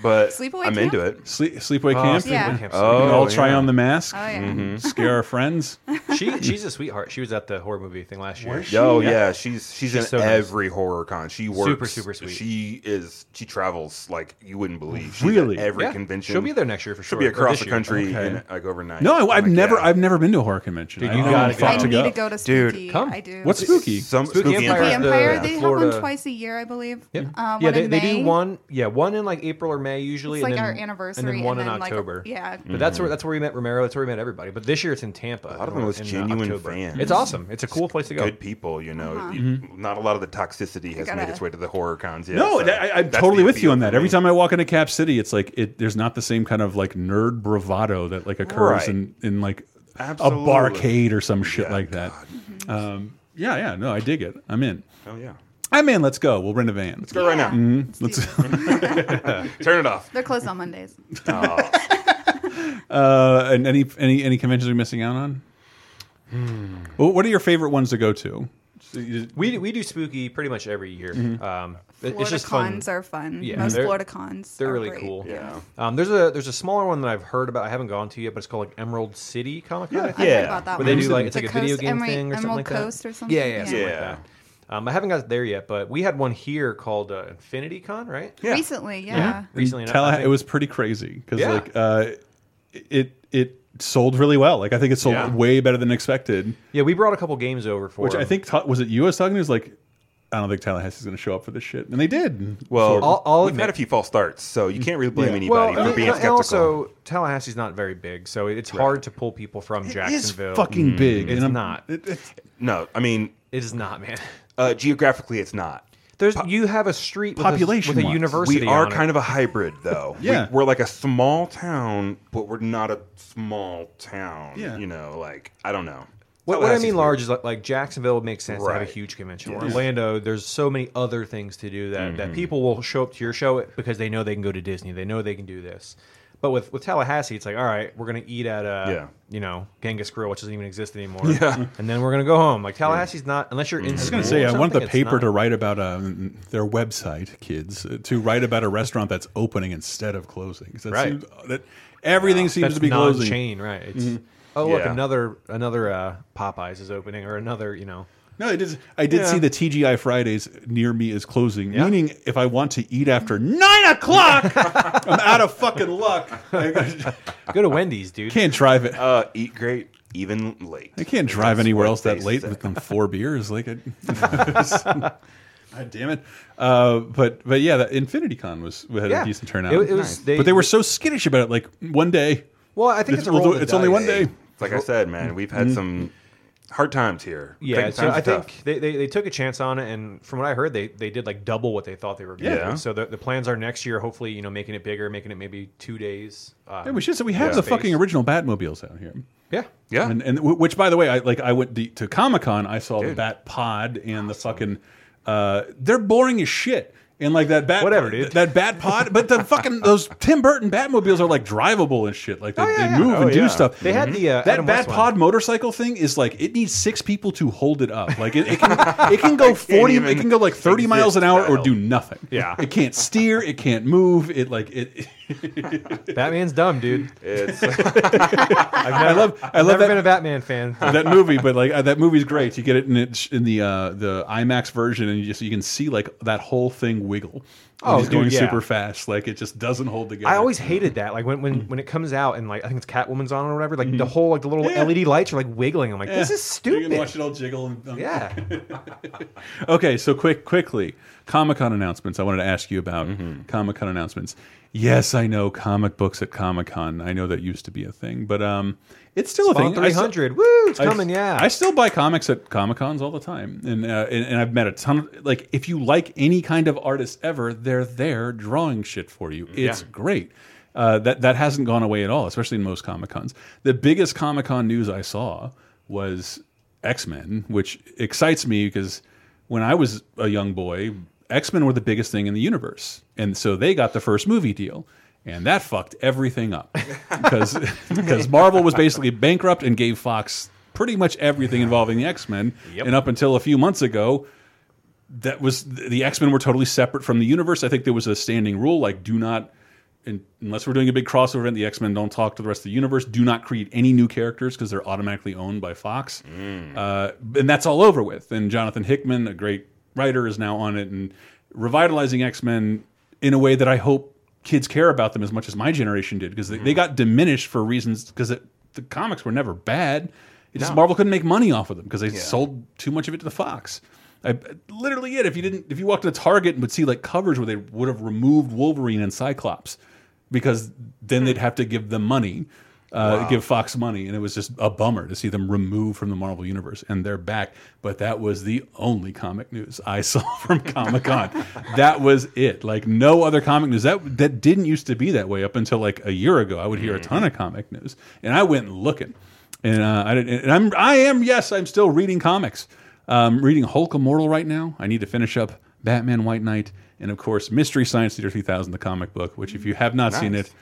but Sleepaway I'm Camp? into it. Sleep, Sleepaway Oh, Camp? Sleepaway Yeah. Camp's Oh, we good. can all try yeah. on the mask. Oh, yeah. Oh Mhm. Scare our friends. she she's a sweetheart. She was at the horror movie thing last year. Yo, yeah. she's she's, in so nice. every horror con. She works Super, super sweet. She is she travels like you wouldn't believe. She's Really? At every Yeah. convention. She'll be there next year for She'll be sure, or across this the year. country Okay. in, like overnight. No, I'm I, I've like, never, yeah. I've never been to a horror convention. Dude, I you don't know gotta if go. I I to need to go to Dude, Spooky. come. I do. What's spooky? Some Spooky Spooky Empire. Empire. Spooky Empire. The they have Florida- one twice a year, I believe. Yep. Um, yeah, one they, in they May. do one. Yeah, one in like April or May usually. It's and like then- our anniversary, and then one and then, in like, a- October. Mm-hmm. yeah. but that's where that's where we met Romero. That's where we met everybody. But this year it's in Tampa. Mm-hmm. A lot of in- them was in, uh, genuine October. fans. It's awesome. It's a cool place to go. Good people, you know. Uh-huh. You- Not a lot of the toxicity has made gotta- its way to the horror cons yet. No, so that- I, I'm that's totally the with you appeal on for that. me. Every time I walk into Cap City, it's like it. There's not the same kind of like nerd bravado that like occurs Right. in in like a Absolutely. barcade or some shit like that. Um, yeah, yeah, no, I dig it. I'm in. Oh yeah. I'm in. Let's go. We'll rent a van. Let's go right now. Yeah. Mhm. Let's. Turn it off. They're closed on Mondays. Uh, and any any any conventions we're missing out on? Hmm. Well, what are your favorite ones to go to? We we do spooky pretty much every year. Mhm. Mm-hmm. Um, it- Florida it's just cons fun. are fun. Yeah, Most they're- Florida cons. They're are really great. cool. Yeah. Um, there's a there's a smaller one that I've heard about. I haven't gone to yet, but it's called like Emerald City Comic Con. I I've think. heard about that Where they one. do like it's The like a video Coast- game Emerald- thing or something Emerald like that. Coast or something? Yeah, yeah, something Yeah. like that. Um, I haven't got there yet, but we had one here called uh, Infinity Con, right? Recently, yeah. Recently, and I Tallaha- think- it was pretty crazy because Yeah. like uh, it it sold really well. Like I think it sold Yeah. way better than expected. Yeah, we brought a couple games over for Which I them. think ta- was it you I was talking to is like I don't think Tallahassee's going to show up for this shit, and they did. Well, Sort of. I'll, we've had a few false starts, so you can't really blame Yeah. anybody Well, for I mean, being and skeptical. also Tallahassee's not very big, so it's hard to pull people from Jacksonville. Hmm. fucking big, It's and I'm- not. no, I mean, it is not, man. Uh, geographically, it's not. There's you have a street with a- population with a university. We are on it. kind of a hybrid, though. Yeah. we, are like a small town, but we're not a small town. Yeah. you know, like I don't know. What, what I Tallahassee's mean large is like, like Jacksonville makes sense to have Right. a huge convention. Yeah. Orlando, there's so many other things to do that, that Mhm. people will show up to your show because they know they can go to Disney. They know they can do this. But with, with Tallahassee, it's like, all right, we're going to eat at, uh, Yeah. you know, Genghis Grill, which doesn't even exist anymore. Yeah. And then we're going to go home. Like Tallahassee's not, unless you're Mm-hmm. in I was going going to say, I want the paper to write about um, their website, kids, uh, to write about a restaurant that's opening instead of closing. 'Cause That Right. Ah, seems, that everything seems That's to be closing. non-chain, right? It's, Mm-hmm. Mhm. Oh, look, Yeah. another, another uh, Popeyes is opening or another, you know. No, it is. I did Yeah. see the TGI Fridays near me is closing, meaning if I want to eat after nine o'clock, I'm out of fucking luck. Go to Wendy's, dude. Can't drive it. Uh, eat great, even late. I can't drive anywhere else that late with them four beers. Like, it, God damn it! Uh, but but yeah, the Infinity Con was had Yeah. a decent turnout. It- it was- Nice. they- but they were so skittish about it. Like one day. Well, I think this- it's a we'll roll do- of the it's only dice. one day. It's Like I said, man, we've had Mhm. some hard times here. Yeah, Taking so times I is tough. think they, they, they took a chance on it, and from what I heard, they, they did like double what they thought they were going to Yeah. do. So the, the plans are next year, hopefully, you know, making it bigger, making it maybe two days. Um, Yeah, we should say we have yeah. the space. fucking original Batmobiles out here. Yeah, yeah, and, and w- which by the way, I like. I went to, to Comic Con. I saw the Bat Pod and the fucking. Uh, they're boring as shit. And like that bat, whatever, dude. That bat pod, but the fucking those Tim Burton Batmobiles are like drivable and shit. Like they, they move Oh, and do yeah. stuff. They had the, uh, that Adam bat West one. pod motorcycle thing is like it needs six people to hold it up. Like it, it can it can go forty, it even can go like thirty miles an exist, hour or Kyle. do nothing. Yeah. it can't steer, it can't move. It like it. Batman's dumb, dude. It's I love. I love I've never that been a Batman fan. that movie, but like uh, that movie's great. You get it in, it, in the uh, the IMAX version, and you just you can see like that whole thing wiggle. Oh, Oh, he's dude, going yeah. super fast. Like it just doesn't hold together. I always hated that. Like when, when, when it comes out and like I think it's Catwoman's on or whatever, like the whole like the little Mm-hmm. Yeah. LED lights are like wiggling. I'm like, Yeah. this is You stupid. can watch it all jiggle. And, um, yeah. Okay, so quick, quickly, Comic Con announcements. I wanted to ask you about Mm-hmm. Comic Con announcements. Yes, I know comic books at Comic Con. I know that used to be a thing, but um, it's still Spawn a thing. I still- 300. Woo, it's I- coming, yeah. I still buy comics at Comic Cons all the time, and, uh, and and I've met a ton. Of, like, if you like any kind of artist ever, they're there drawing shit for you. It's Yeah. great. Uh, that that hasn't gone away at all, especially in most Comic Cons. The biggest Comic Con news I saw was X Men, which excites me because when I was a young boy, X Men were the biggest thing in the universe, and so they got the first movie deal, and that fucked everything up because because Marvel was basically bankrupt and gave Fox pretty much everything involving the X Men, Yep. and up until a few months ago, that was the X Men were totally separate from the universe. I think there was a standing rule like do not. in- unless we're doing a big crossover event, the X Men don't talk to the rest of the universe. Do not create any new characters because they're automatically owned by Fox, uh, and that's all over with. And Jonathan Hickman, a great writer, is now on it and revitalizing X Men in a way that I hope kids care about them as much as my generation did because they, Mm-hmm. they got diminished for reasons because the comics were never bad. It's just No. Marvel couldn't make money off of them because they Yeah. sold too much of it to the Fox. I, literally it. If you didn't, if you walked to Target and would see like covers where they would have removed Wolverine and Cyclops, because then they'd have to give them money, uh, Wow. give Fox money, and it was just a bummer to see them removed from the Marvel universe. And they're back, but that was the only comic news I saw from Comic Con. that was it. Like no other comic news. That that didn't used to be that way up until like a year ago. I would hear a ton of comic news, and I went looking. And uh, I didn't, and I'm I am yes I'm still reading comics. Um, reading Hulk Immortal right now. I need to finish up Batman White Knight and of course Mystery Science Theater 3000, the comic book. Which if you have not seen Nice. it,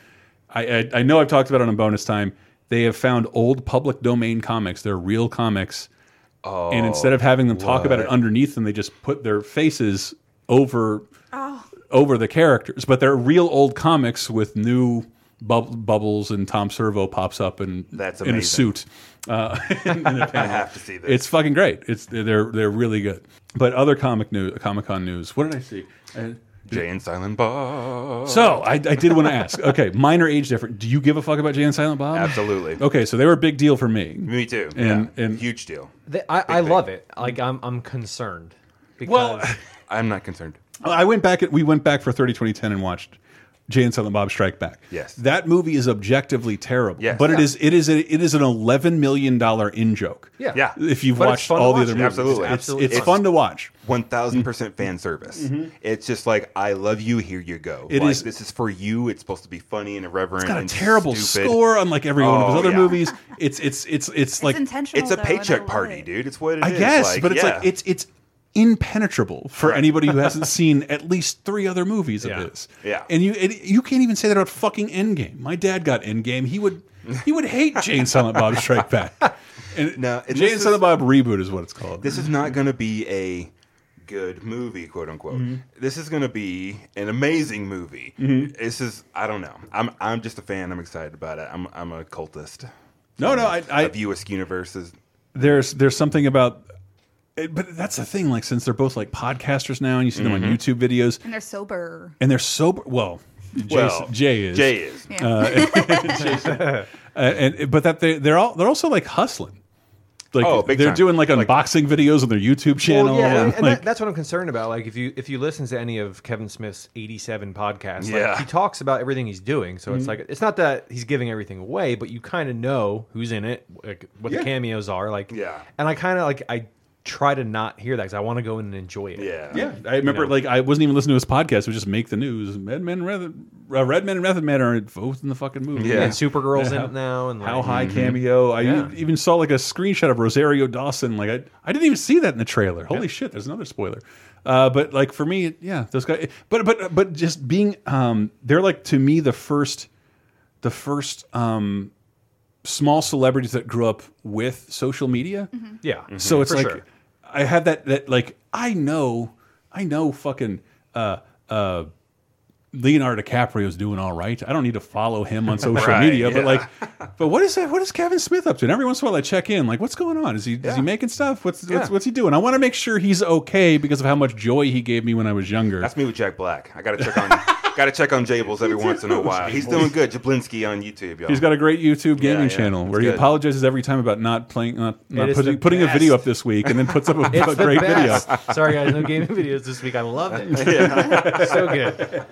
I, I I know I've talked about it on bonus time. They have found old public domain comics. They're real comics. Oh, and instead of having them talk about it what? underneath them, they just put their faces over Oh. over the characters. But they're real old comics with new bub bubbles, and Tom Servo pops up and That's in a amazing. suit. Uh, in the I panel. have to see this. It's fucking great. It's they're they're really good. But other comic news, Comic Con news. What did I see? Uh, Jay and Silent Bob. so I, I did want to ask. Okay, minor age difference. Do you give a fuck about Jay and Silent Bob? Absolutely. Okay, so they were a big deal for me. Me too. And Yeah. and Huge deal. They- I, I love it. Like I'm I'm concerned. Well, I'm not concerned. I went back. We went back for 30, 20, 10 and watched Jay and Silent Bob Strike Back. Yes. that movie is objectively terrible. Yes. but it Yeah. is it is a, it is an eleven million dollar in joke. Yeah. Yeah. If you've But it's watched fun to all the watch. other movies, Absolutely. it's, Absolutely it's fun. fun to watch. One thousand percent fan service. Mhm. It's just like I love you. Here you go. It It is. like, is- This is for you. It's supposed to be funny and irreverent. It's got a and terrible stupid. score, unlike every one of his Oh, other yeah. movies. It's it's it's it's like intentional, It's a though, and I paycheck love party, it. dude. It's what it is. I guess, Like, but it's yeah. like it's it's impenetrable for anybody who hasn't seen at least three other movies Yeah. of this. Yeah. and you and you can't even say that about fucking Endgame. My dad got Endgame. He would he would hate Jane Silent Bob Strike Back. And no, Jay and Silent Bob reboot is what it's called. This is not going to be a good movie, quote unquote. Mhm. This is going to be an amazing movie. Mm-hmm. This is I don't know. I'm I'm just a fan. I'm excited about it. I'm I'm a cultist. No, no, I, I view Askew universes. there's there's something about it- but that's the thing like since they're both like podcasters now and you see them on Mhm. youtube videos And they're sober. and they're sober well Jay, Well, Jay is Jay is. Yeah. uh, Jason. Uh, and but that they they're all they're also like hustling like Oh, big they're time. doing like unboxing videos on their youtube channel Well, yeah, and, and like that, that's what I'm concerned about. Like if you if you listen to any of Kevin Smith's 87 podcasts, Yeah. like, he talks about everything he's doing. So Mhm. it's like it's not that he's giving everything away, but you kind of know who's in it, like what Yeah. the cameos are, like Yeah. And I kind of like I try to not hear that because I want to go in and enjoy it. yeah, I remember You know? like I wasn't even listening to his podcast. It was just make the news. Redman, Redman, Redman, and Method Man are both in the fucking movie. Yeah. And Supergirl's in it now, and, like- how high Mhm. cameo? I e-, Yeah. even saw like a screenshot of Rosario Dawson. Like I, I didn't even see that in the trailer. Holy shit! There's another spoiler. Uh, but like for me, yeah, those guys. But but but just being, um, they're like to me the first, the first um, small celebrities that grew up with social media. yeah. Mm-hmm. So it's For like sure. I have that that like I know I know fucking uh uh Leonardo DiCaprio's doing all right. I don't need to follow him on social Right, media, yeah. but like but what is that what is Kevin Smith up to? And every once in a while I check in, like what's going on? Is he is he making stuff? What's what's, Yeah. what's he doing? I want to make sure he's okay because of how much joy he gave me when I was younger. That's me with Jack Black. I got to check on got to check on Jables every once in a while. He's doing good. Jablinski on YouTube, y'all. He's got a great YouTube gaming yeah, channel it's where he good. apologizes every time about not playing, not, not is putting, the putting a best. video up this week, and then puts up a, It's a the great best. video. Sorry guys, no gaming videos this week. I love it. Yeah. so good.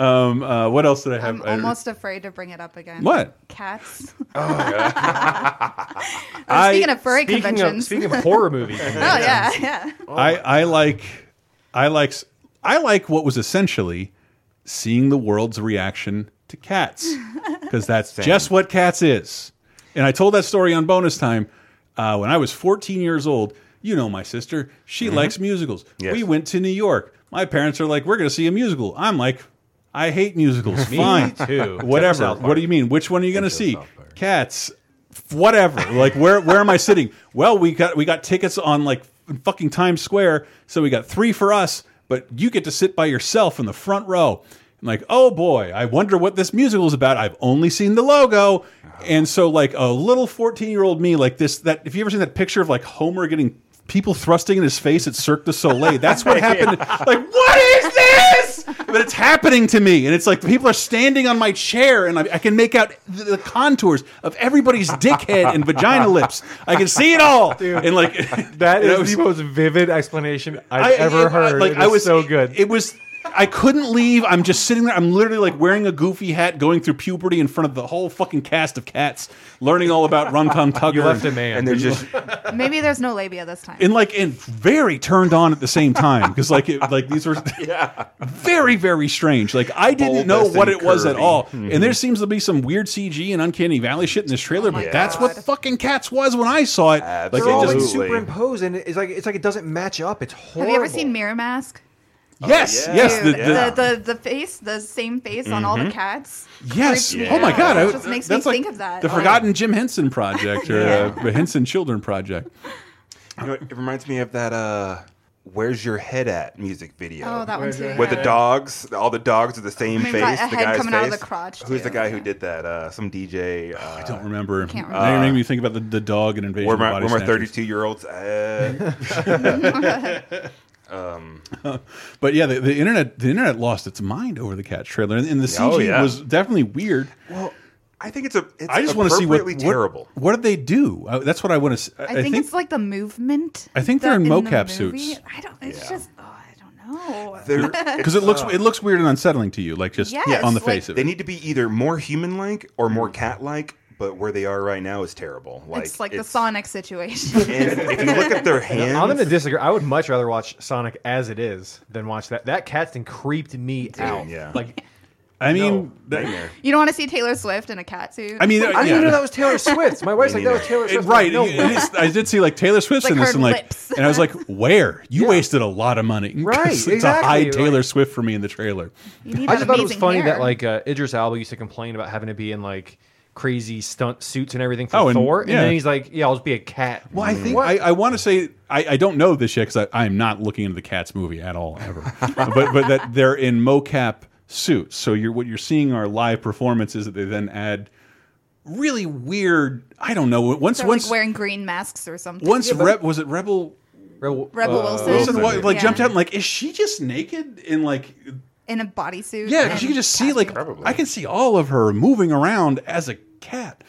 Um, uh, what else did I have? I'm I- almost afraid to bring it up again. What? Cats. I- speaking of furry speaking of- conventions. speaking of horror movies. oh yeah, yeah. I, I like I like s- I like what was essentially seeing the world's reaction to cats because that's just what cats is. And I told that story on bonus time uh, when I was 14 years old. You know my sister; she Mhm. likes musicals. Yes. We went to New York. My parents are like, "We're going to see a musical." I'm like, "I hate musicals." Me Fine, too. Except whatever. South What do you mean? Which one are you going to see? Cats, F- whatever. Like where where am I sitting? Well, we got we got tickets on like fucking Times Square, so we got three for us, but you get to sit by yourself in the front row. I'm like, oh boy, I wonder what this musical is about. I've only seen the Oh. logo, and so like a little fourteen year old me, like this that if you ever seen that picture of like Homer getting people thrusting in his face at Cirque du Soleil, that's what happened. Like what is this? But it's happening to me, and it's like people are standing on my chair, and I, I can make out the, the contours of everybody's dickhead and vagina lips. I can see it all, Dude. and like That and I is was- the most vivid explanation I've I- ever it- heard. Like It I is was so good. It, was. I couldn't leave. I'm just sitting there. I'm literally like wearing a goofy hat, going through puberty in front of the whole fucking cast of cats, learning all about Rum Tum Tugger. You left a man. and they're just Maybe there's no labia this time. and like and very turned on at the same time because like it, like these were very very strange. Like I didn't Bulbous know what and it was at curvy. all, Mm-hmm. Mhm. and there seems to be some weird CG and uncanny valley shit in Oh this trailer, but that's what fucking cats was when I saw it. They're all Like it like just superimposed, and it's like it's like it doesn't match up. It's Have horrible. you ever seen Mirror Mask? Oh, Yes, yes, Dude, the- the, the, the face, the same face on all the Mhm. cats. Yes. Creeps me Oh my out. god. I, It just makes me that's like think of that. The Forgotten Jim Henson Project or uh, the Henson Children Project. You know, it reminds me of that uh Where's Your Head At music video. Oh, that one Where's too, your With head the at? dogs, all the dogs are the same I mean, face. got a the head guy's coming face. out of the crotch, Who's the too, guy who did that? Uh, some DJ. Uh, I don't remember. Can't Now you're making me think about the, the dog and Invasion We're of my, Body we're my Snatchers. 32 year olds. Uh, um, but yeah, the, the internet the internet lost its mind over the Cats trailer, and, and the CG Oh, yeah. was definitely weird. Well, I think it's a. It's I just want to see what, appropriately what- terrible. What, did they do? I, that's what I want to. I, I think, it's like the movement. I think they're that in the mocap movie- suits. I don't. It's just. Oh, I don't know. because it looks it looks weird and unsettling to you, like just Yes, on the like- face of They it. need to be either more human-like or more cat-like, but where they are right now is terrible. Like it's like the it's- Sonic situation. And I'm going to disagree. I would much rather watch Sonic as it is than watch that. That Captain creeped me out. Yeah. Like, I mean, You don't want to see Taylor Swift in a cat suit. I mean, I didn't even know that was Taylor Swift. My wife's like, that was Taylor Swift. right? No it- it way. is- I did see like Taylor Swift's Like in this, her and like, lips. and I was like, where? You wasted a lot of money, Right, To hide exactly, Taylor Swift for me in the trailer. You need I that just thought it was amazing funny hair. that like uh, Idris Alba used to complain about having to be in like crazy stunt suits and everything for Oh, and- Thor, and yeah. then he's like, "Yeah, I'll just be a cat." Well, I think I, I want to say I, I don't know this yet because I am not looking into the Cats movie at all ever, but but that they're in mocap suits. So you're what you're seeing are live performances that they then add really weird. I don't know. Once They're once like wearing green masks or something. once Reb was it Rebel Rebel, Rebel uh, Wilson. Wilson wa- like Yeah. jumped out and like is she just naked and like in a bodysuit. yeah 'cause and you can just see like I can see all of her moving around as a cat.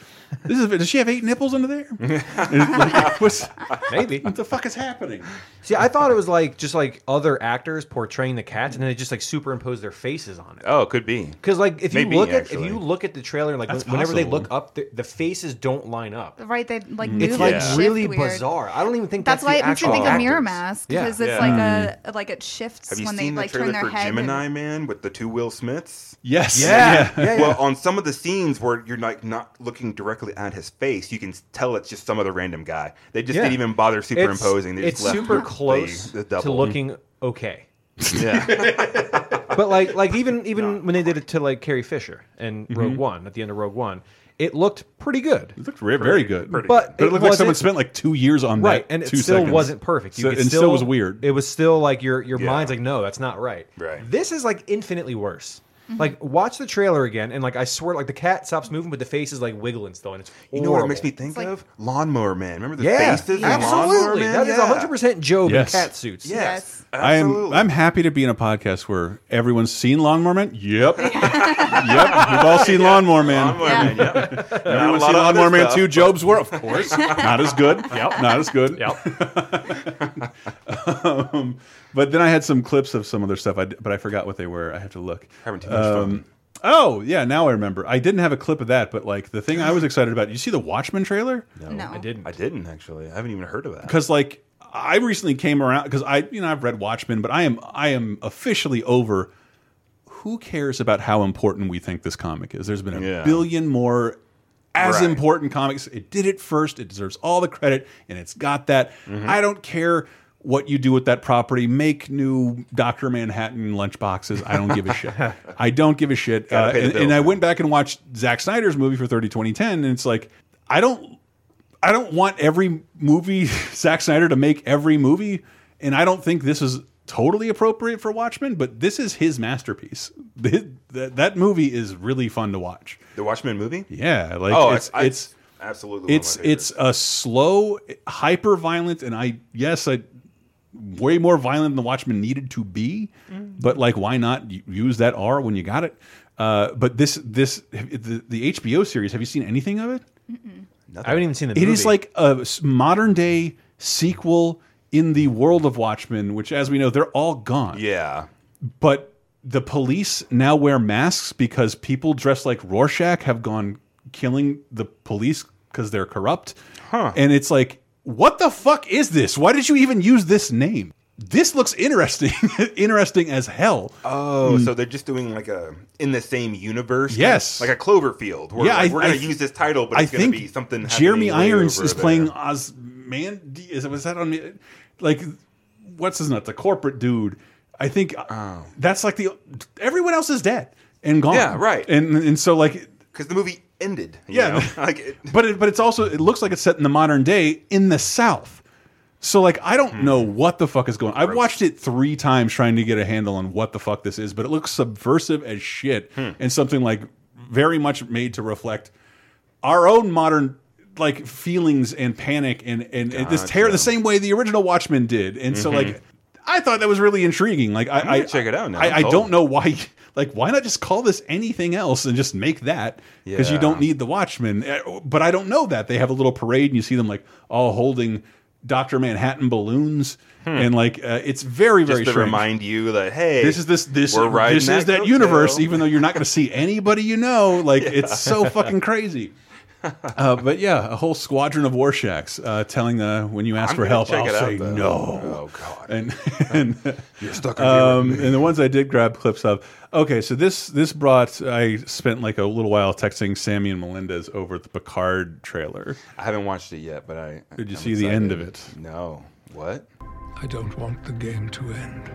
This is does she have eight nipples under there? Like, what's- Maybe. what the fuck is happening? See, I thought it was like just like other actors portraying the cats, and then they just like superimpose their faces on it. Oh, could be. Because like if you Maybe, look at actually. if you look at the trailer, like That's whenever they possible. look up, the, the faces don't line up. right. They like move It's and like shift really weird. bizarre. I don't even think That's, that's, why the it makes me actual think of Mirror actors. Mask Yeah. because Yeah. Mm. it's like a like it shifts Have you when they seen like the turn trailer their for head. and- Gemini Man with the two Will Smiths? Yes. Yeah. Yeah. Yeah, yeah. Well, on some of the scenes where you're like not looking directly at his face, you can tell it's just some other random guy. They just Yeah. didn't even bother It's- superimposing. they It's just left super the- close the to double. looking okay. Yeah. but like like even even when they did it to like Carrie Fisher in Rogue Mhm. One at the end of Rogue One, it looked pretty good. It looked Very, very good. But, it, looked like someone wasn't- spent like two years on that. right, and it two still seconds. wasn't perfect. You So- could and still, was weird. It was still like your your Yeah. mind's like, no, that's not right. Right. This is like infinitely worse. Mhm. Like watch the trailer again, and like I swear, like the cat stops moving, but the face is like wiggling still, and it's You know what it horrible. makes me think of? Lawnmower Man. Remember the yeah, faces? in Lawnmower absolutely. Man? That is Yeah. 100 percent Job Yes. in cat suits. Yes. I am. I'm happy to be in a podcast where everyone's seen Lawnmower Man. Yep. yep. We've all seen Lawnmower Man. Lawnmower Man, yep. Not a Everyone's lot seen of other Lawnmower Man stuff, Two. but- Job's were, of course, not as good. Not as good. Yep. um, but then I had some clips of some other stuff, I d but I forgot what they were. I have to look. Uh, Having too much fun. Um, Oh yeah, now I remember. I didn't have a clip of that, but like the thing I was excited about. You see the Watchmen trailer? No. I didn't. I didn't actually. I haven't even heard of that. because like I recently came around because I you know I've read Watchmen, but I am I am officially over. Who cares about how important we think this comic is? There's been a Yeah. billion more as Right. important comics. It did it first. It deserves all the credit, and it's got that. Mm-hmm. I don't care what you do with that property. Make new Doctor Manhattan lunchboxes. I don't give a shit. I don't give a shit. Gotta Uh, pay the and, bills, and I went back and watched Zack Snyder's movie for 30, 2010, and it's like I don't I don't want every movie Zack Snyder to make every movie, and I don't think this is totally appropriate for Watchmen. But this is his masterpiece. Th- That that movie is really fun to watch. The Watchmen movie? Yeah, like Oh, it's I- I- it's absolutely one of it's my it's a slow, hyper violent, and I yes I way more violent than Watchmen needed to be, Mm. but like why not u- use that R when you got it? Uh, but this this the, the HBO series. Have you seen anything of it? I haven't even seen the. It is movie. like a s- modern day sequel in the world of Watchmen, which, as we know, they're all gone. Yeah. But the police now wear masks because people dressed like Rorschach have gone killing the police because they're corrupt. Huh. And it's like, what the fuck is this? Why did you even use this name? This looks interesting, interesting as hell. Oh, Mm. so they're just doing like a in the same universe. kind of- Yes. like a Cloverfield. Where Yeah, like, I- we're going I to use this title, but I it's going think to be something. Jeremy happening way Irons over is there. playing Osmandy. Is was that on me? Like, what's his nut? The corporate dude. I think that's like the everyone else is dead and gone. Oh. Yeah, right. And and so like, because the movie ended. you yeah, know? like it, but it, but it's also it looks like it's set in the modern day in the South. So like I don't know Hmm. what the fuck is going. on. I've watched it three times trying to get a handle on what the fuck this is, but it looks subversive as shit Hmm. and something like very much made to reflect our own modern like feelings and panic and and, and this terror the same way the original Watchmen did. And so Mhm. like I thought that was really intriguing. Like I, I'm gonna I check it out now. Oh. I, I I'm don't know why. Like, why not just call this anything else and just make that? Because you Yeah. don't need the Watchmen. Uh, But I don't know that they have a little parade and you see them like all holding Doctor Manhattan balloons and like uh, it's very very Hmm. Just to strange. remind you that hey, this is this this we're riding this is that coattail. universe. Even though you're not going to see anybody you know, like Yeah. it's so fucking crazy. Uh, but yeah, a whole squadron of Warshacks uh, telling the when you ask I'm for gonna help, check I'll it out, say though. no. Oh, God. And, and You're stuck in here with um, and the ones I did grab clips of. Okay, so this this brought. I spent like a little while texting Sammy and Melendez over the Picard trailer. I haven't watched it yet, but I Did you I'm see the end of it? excited. No. What? I don't want the game to end.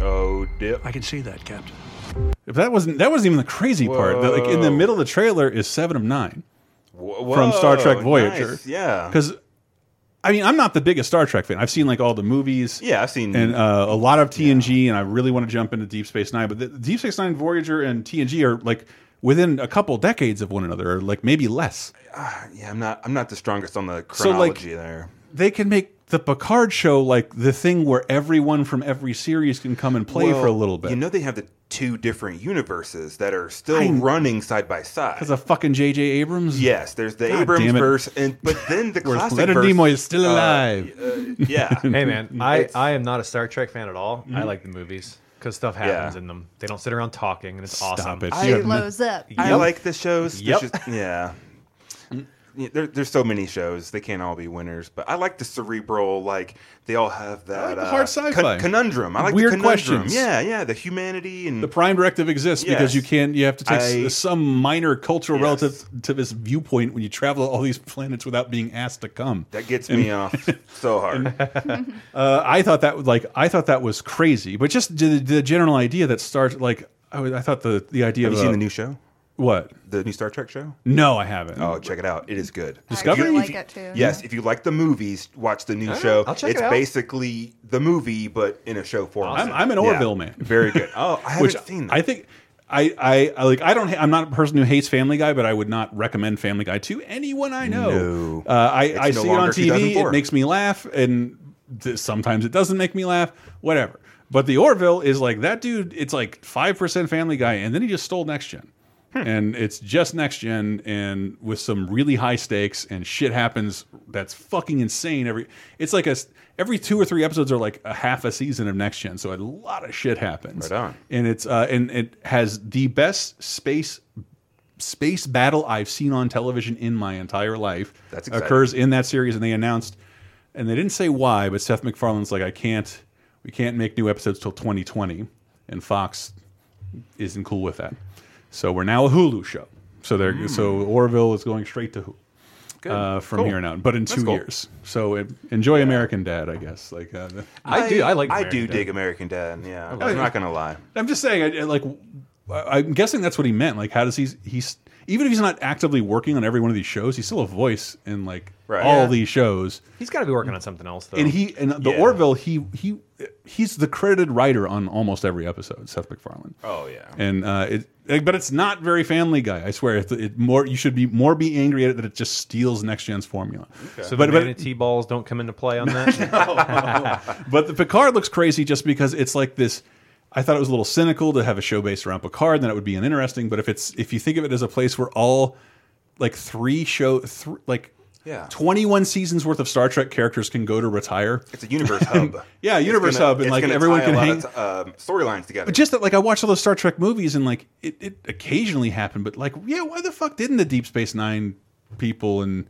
Oh, dip. I can see that, Captain. If that wasn't that wasn't even the crazy part. That, like in the Whoa. middle of the trailer is seven of nine Wh- from Star whoa, Trek Voyager. nice, yeah. because I mean I'm not the biggest Star Trek fan. I've seen like all the movies. Yeah, I've seen- and uh, a lot of TNG, and I really want to jump into Deep Space Nine. But the, Deep Space Nine, Voyager, and TNG are like within a couple decades of one another, or like maybe less. Yeah, I'm not. I'm not the strongest on the So, like- chronology there. They can make the Picard show like the thing where everyone from every series can come and play Well, for a little bit. You know they have the two different universes that are still I- running side by side. because of fucking J.J. Abrams. Yes, there's the God Abrams damn it. verse, and but then the Where classic Leonard verse, Nimoy is still uh, alive. uh, yeah, Mm-hmm. hey man, I, It's- I am not a Star Trek fan at all. I Mhm. like the movies because stuff happens in them. They don't sit around talking, and it's awesome. it. I- You have no- blows up. I Yep. like the shows. Yep. There's just- yeah. Mm. Yeah, There, there's so many shows. They can't all be winners, but I like the cerebral. Like they all have that like the uh, hard sci-fi. con- conundrum. I like Weird the conundrum. questions. Yeah, yeah. The humanity and the prime directive exists because Yes. you can't you have to take I- s some minor cultural relativist viewpoint when you travel all these planets without being asked to come that gets And- me off so hard. uh, i thought that was like i thought that was crazy but just the, the general idea that starts like I, was- I thought the the idea have of you seen uh, the new show? what The new Star Trek show? no i haven't Oh, check it out. It is good. Discovery? If you- I like it too, Yes, if you like the movies, watch the new All right, show. I'll check it's it out. basically the movie, but in a show format. I'm, I'm an Yeah. Orville man. Very good. Oh, I haven't Which seen that. I think I, I I like I don't ha- I'm not a person who hates Family Guy, but I would not recommend Family Guy to anyone I know. No. Uh, I, It's I no see it on longer TV, it 2004. makes me laugh, and th- sometimes it doesn't make me laugh. Whatever. But the Orville is like that dude. It's like five percent Family Guy, and then he just stole Next Gen. Hmm. And it's just next gen, and with some really high stakes, and shit happens that's fucking insane. Every it's like a s- every two or three episodes are like a half a season of next gen, so a lot of shit happens. Right on. And it's uh, and it has the best space space battle I've seen on television in my entire life. That's exciting. occurs in that series, and they announced, and they didn't say why, but Seth MacFarlane's like, I can't, we can't make new episodes till 2020, and Fox isn't cool with that, so we're now a Hulu show. So they're so Orville is going straight to Hulu. Uh, from Hmm. Cool. here on out, but in That's two cool. years. So uh, enjoy American Dad, I guess. Like uh, the- I do. I like. I American do Dad. dig American Dad. Yeah, I'm it. not gonna lie. I'm just saying, I, I, like, I- I'm guessing that's what he meant. Like, how does he? He's even if he's not actively working on every one of these shows, he's still a voice in like Right. all Yeah. these shows. He's got to be working on something else though. And he and the Yeah. Orville, he he he's the credited writer on almost every episode. Seth MacFarlane. Oh yeah. And uh, it, like, but it's not very Family Guy. I swear, it, it more you should be more be angry at it that it just steals Next Gen's formula. so but- the but- manatee balls don't come into play on that. But the Picard looks crazy just because it's like this. I thought it was a little cynical to have a show based around Picard, then it would be uninteresting. But if it's if you think of it as a place where all like three show thr like Yeah. twenty one seasons worth of Star Trek characters can go to retire. It's a universe hub. Yeah, It's universe gonna- hub, and it's like gonna everyone tie can a lot hang. of, um, storylines together. But just that, like, I watched all those Star Trek movies, and like, it, it occasionally happened. But like, yeah, why the fuck didn't the Deep Space Nine people and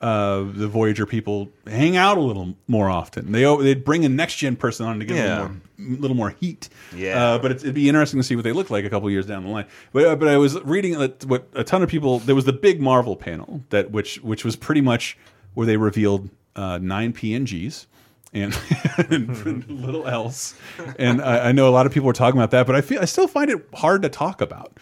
uh, the Voyager people hang out a little more often? They they'd bring a next gen person on to give Yeah. them a little more, little more heat. Yeah. Uh, but it's, it'd be interesting to see what they look like a couple years down the line. But uh, but I was reading that what a ton of people there was the big Marvel panel that which which was pretty much where they revealed uh, nine PNGs and, and little else. And I, I know a lot of people were talking about that, but I feel I still find it hard to talk about.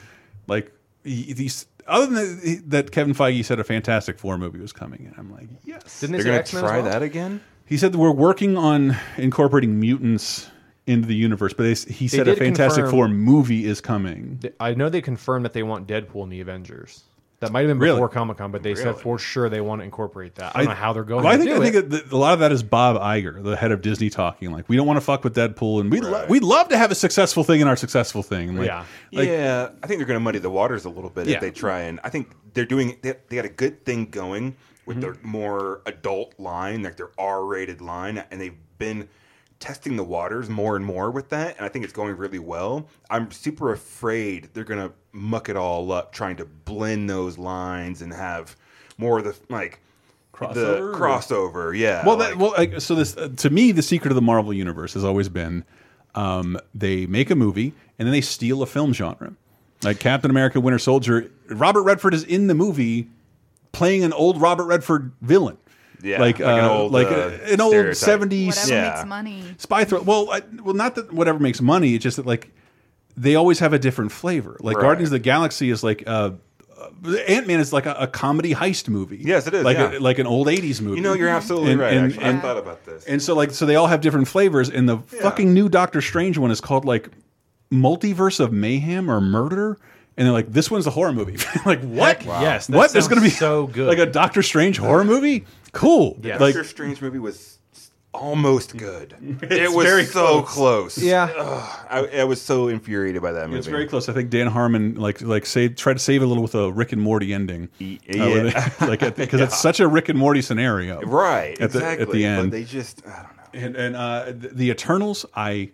Like y- these, other than that, that Kevin Feige said a Fantastic Four movie was coming, and I'm like, yes, Didn't they they're say gonna X-Men as try well? that again. he said that we're working on incorporating mutants into the universe, but they, he said a did Fantastic confirm- Four movie is coming. I know they confirmed that they want Deadpool in the Avengers. That might have been Really? before Comic Con, but they said Really? for sure they want to incorporate that. I don't know how they're going. Well, I to think do I it. think that a lot of that is Bob Iger, the head of Disney, talking like we don't want to fuck with Deadpool, and we would lo we'd love to have a successful thing in our successful thing. Like, like, yeah, I think they're going to muddy the waters a little bit Yeah. if they try and. I think they're doing. They, they got a good thing going with their Mm-hmm. more adult line, like their R-rated line, and they've been testing the waters more and more with that. And I think it's going really well. I'm super afraid they're going to muck it all up, trying to blend those lines and have more of the like Crossover The or- crossover, yeah. Well, that, well, like, so this uh, to me, the secret of the Marvel universe has always been um, they make a movie and then they steal a film genre. Like Captain America: Winter Soldier, Robert Redford is in the movie playing an old Robert Redford villain. Yeah, like like an uh, old, like uh, uh, an old stereotype. seventies Whatever makes money. spy thriller. Well, I, well, not that whatever makes money. It's just that like they always have a different flavor. Like Right. Guardians of the Galaxy is like uh, Ant Man is like a, a comedy heist movie. Yes, it is, Like a, yeah. like an old eighties movie. You know, you're absolutely And- right. and- actually, and- I thought about this. and so like so they all have different flavors and the fucking new Doctor Strange one is called like Multiverse of Mayhem or Murder and they're like this one's a horror movie. like what? Heck yes, that What there's going to be sounds so good. like a Doctor Strange horror movie? Cool. The Like Doctor Strange movie was almost good. it It's was very so close. close. Yeah. Ugh, I, I was so infuriated by that movie. it's very close. I think Dan Harmon like like say tried to save it a little with a Rick and Morty ending. yeah. like because it's such a Rick and Morty scenario. right. At the, exactly. at the end. but they just I don't know. and and uh, the, the Eternals, I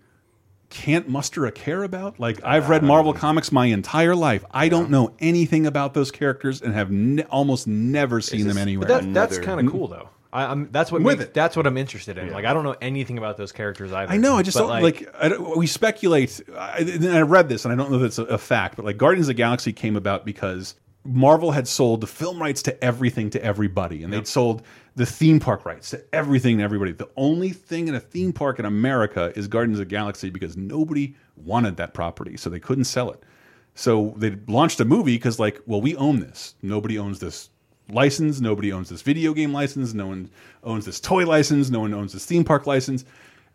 can't muster a care about. Like I've read Marvel comics my entire life. I don't know anything about those characters and have ne almost never seen them anywhere. But that, that's kind of cool though. I, I'm that's what With makes, that's what I'm interested in. Like I don't know anything about those characters either. I know. I just But, don't like. I don't, we speculate. I, and I read this, and I don't know if it's a, a fact, but like Guardians of the Galaxy came about because Marvel had sold the film rights to everything to everybody, and they'd sold the theme park rights to everything to everybody. The only thing in a theme park in America is Guardians of the Galaxy because nobody wanted that property, so they couldn't sell it. So they launched a movie because, like, well, we own this. Nobody owns this license. Nobody owns this video game license. No one owns this toy license. No one owns this theme park license.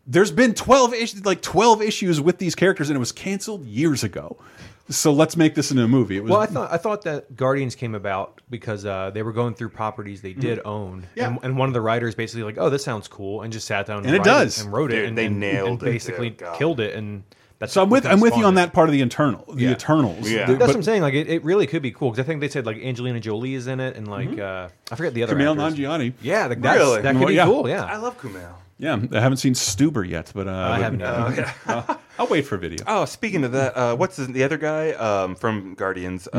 There's been 12 issues, like 12 issues with these characters, and it was canceled years ago. So let's make this into a movie. It was Well, I thought I thought that Guardians came about because uh, they were going through properties they did Mhm. own, Yeah. and, and one of the writers basically like, "Oh, this sounds cool," and just sat down and, And it write does. and wrote Dude, it, and they and- nailed and it, basically dude. God. killed it. And that's so I'm with what I'm with spawned you on it. that part of the internal, the Yeah. Eternals. The- that's but- what I'm saying. Like, it, it really could be cool because I think they said like Angelina Jolie is in it, and like uh, I forget the other Kumail actors. Mm-hmm. Nanjiani. Yeah, like, that's, Really? that could Well, be yeah. cool. Yeah, I love Kumail. yeah, I haven't seen Stuber yet, but uh, I haven't either. uh, I'll- I'll wait for video. Oh, speaking of that, uh, what's his, the other guy um, from Guardians? Uh,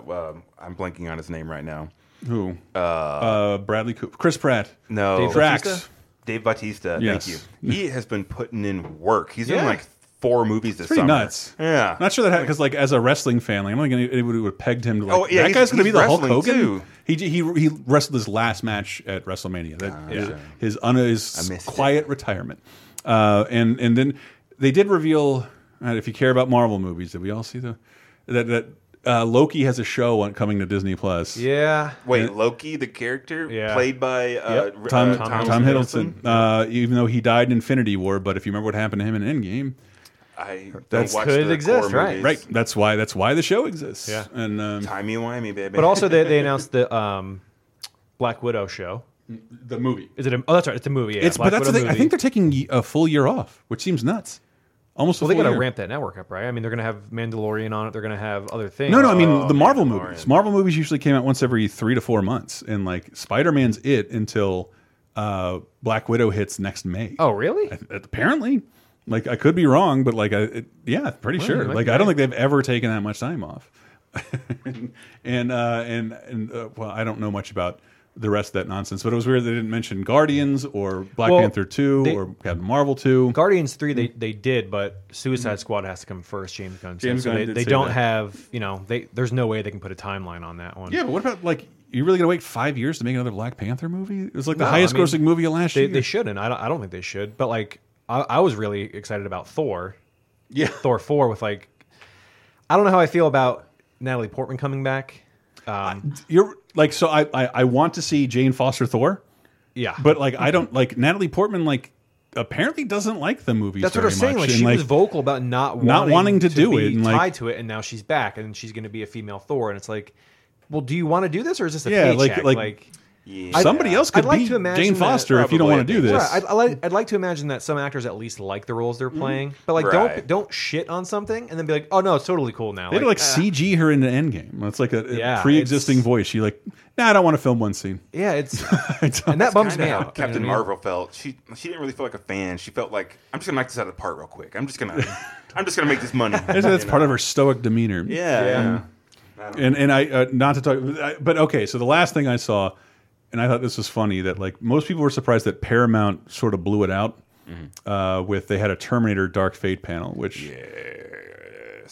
Mm-hmm. uh, um, I'm blanking on his name right now. Who? Uh, Bradley Cooper, Chris Pratt. No, Dave Drax. Bautista? Dave Bautista. Yes. Thank you. He has been putting in work. He's Yeah. in like four movies this It's pretty summer. nuts. Yeah. not sure that because like as a wrestling fan, like, I don't think anybody would have pegged him to like Oh, yeah, that he's- guy's going to be he's the Hulk wrestling, Hogan. too. He he he wrestled his last match at WrestleMania. That his, yeah. his, un, his quiet retirement, uh, and and then they did reveal. uh, if you care about Marvel movies, did we all see the that that uh, Loki has a show on, coming to Disney Plus? Yeah. Wait, Loki, the character Yeah. played by uh, Yep. r- Tom, uh, Tom, Hiddleston, Uh, even though he died in Infinity War, but if you remember what happened to him in Endgame, I don't that's watch the core movies. Right, that's why that's why the show exists. Yeah. and um, Timey wimey, baby. But also, they, they announced the um, Black Widow show. The movie. Is it? A, oh, that's right. It's a movie. Yeah, it's Black but that's the Widow thing. I movie. think they're taking ye- a full year off, which seems nuts. Almost well, a they full got to year. ramp that network up, right? I mean, they're going to have Mandalorian on it. They're going to have other things. No, no, I mean Oh, the Marvel movies. Marvel movies usually came out once every three to four months, and like Spider Man's it until uh, Black Widow hits next May. Oh, really? Apparently, like I could be wrong, but like I, it, yeah, pretty Well, you sure. might Like be I don't right. think they've ever taken that much time off. and uh, and and uh, well, I don't know much about the rest of that nonsense, but it was weird they didn't mention Guardians or Black Well, Panther two they- or Captain Marvel two. Guardians three Mm. they, they did, but Suicide Squad has to come first. James Gunn. said. James so Gunn they, did they say don't that. have you know they there's no way they can put a timeline on that one. Yeah, but what about like you really gonna wait five years to make another Black Panther movie? It was like the No, I highest mean, grossing movie of last they, year. They shouldn't. I don't, I don't think they should. But like, I, I was really excited about Thor. Yeah. Thor four with like, I don't know how I feel about Natalie Portman coming back. Um, You're like so I, I I want to see Jane Foster Thor, yeah. but like I don't like Natalie Portman like apparently doesn't like the movies. That's what very I'm saying. much, Like and, she was vocal about not wanting not wanting to do be it, and, like- tied to it, and now she's back, and she's going to be a female Thor, and it's like well, do you want to do this or is this a Yeah, like- paycheck? like- I'd- Somebody else could I'd like be to imagine Jane that- Foster if you don't probably. wanna do this. Right, I'd, I'd like, I'd like to imagine that some actors at least like the roles they're Mhm. playing, but like Right. don't don't shit on something and then be like, oh no, it's totally cool now. They had to like uh, CG her in the Endgame. It's like a, a Yeah, pre-existing voice. She like, nah, I don't want to film one scene. Yeah, it's and that bums kinda me how out. Captain You know what I mean? Marvel felt she she didn't really feel like a fan. She felt like I'm just gonna knock this out of the park real quick. I'm just gonna I'm just gonna make this money. That's, that's part of her stoic demeanor. Yeah, yeah. I don't know. And and I uh, not to talk, but I- but okay. So the last thing I saw, and I thought this was funny that like most people were surprised that Paramount sort of blew it out Mm-hmm. uh, with they had a Terminator Dark Fate panel, which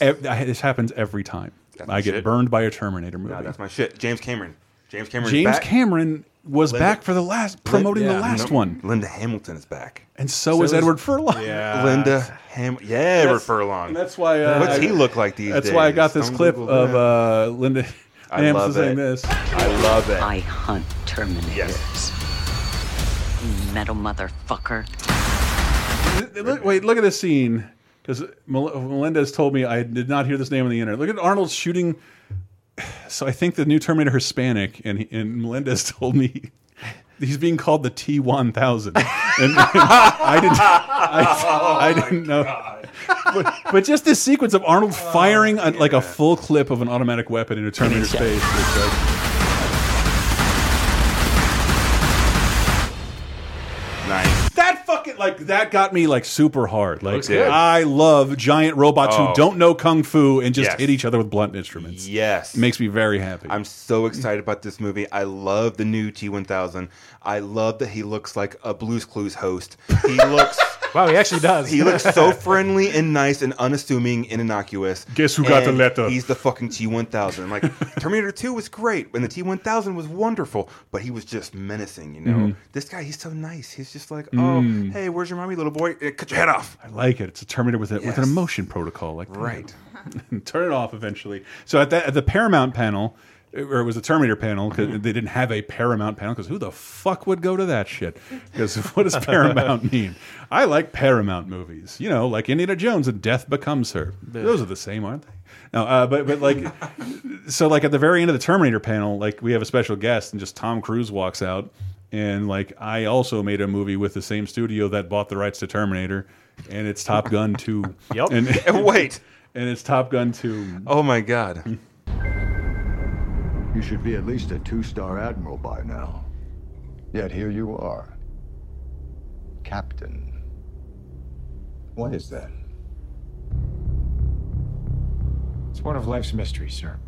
Ev- I- this happens every time. That's my I get shit. burned by a Terminator movie. Nah, that's my shit. James Cameron. James Cameron. James back. Cameron was Linda- back for the last promoting Yeah. the last No, one, Linda Hamilton is back. and so, is Edward Furlong. Linda Ham. Yeah, Edward Uh, That's- Furlong. and that's why. Uh, What's I- he look like these That's days? why I got this Don't clip Google of that. uh, Linda I Hamilton love saying it. this. I love it. I hunt Terminators. You metal motherfucker. Look, wait, look at this scene because Melinda's told me I did not hear this name on the internet. Look at Arnold shooting. So I think the new Terminator Hispanic, and he, and Melinda's told me he's being called the T one thousand, and I didn't, I, I didn't know. But, but just this sequence of Arnold firing a, like a full clip of an automatic weapon into Terminator's Check. face. is like- Nice. That fucking like that got me like super hard. Like Looks good. I love giant robots Oh. who don't know kung fu and just Yes. hit each other with blunt instruments. Yes. Makes me very happy. I'm so excited about this movie. I love the new T1000. I love that he looks like a Blues Clues host. He looks. wow, he actually does. He looks so friendly and nice and unassuming and innocuous. Guess who got the And letter? He's the fucking T1000. Like Terminator 2 was great, and the T1000 was wonderful, but he was just menacing. You know, Mhm. this guy, he's so nice. He's just like, oh, Mm. hey, where's your mommy, little boy? Eh, Cut your head off. I like it. It's a Terminator with a, with an Yes. emotion protocol. Like Right. turn it off eventually. So at that at the Paramount panel, or it was a Terminator panel because they didn't have a Paramount panel because who the fuck would go to that shit? Because what does Paramount mean? I like Paramount movies. You know, like Indiana Jones and Death Becomes Her. Those are the same, aren't they? No, uh, but but like, so like at the very end of the Terminator panel, like we have a special guest, and just Tom Cruise walks out, and like I also made a movie with the same studio that bought the rights to Terminator, and it's Top Gun Two. Yep. And, And wait. and it's Top Gun Two. Oh my god. You should be at least a two star admiral by now. Yet here you are. Captain. What is that? It's one of life's mysteries, sir.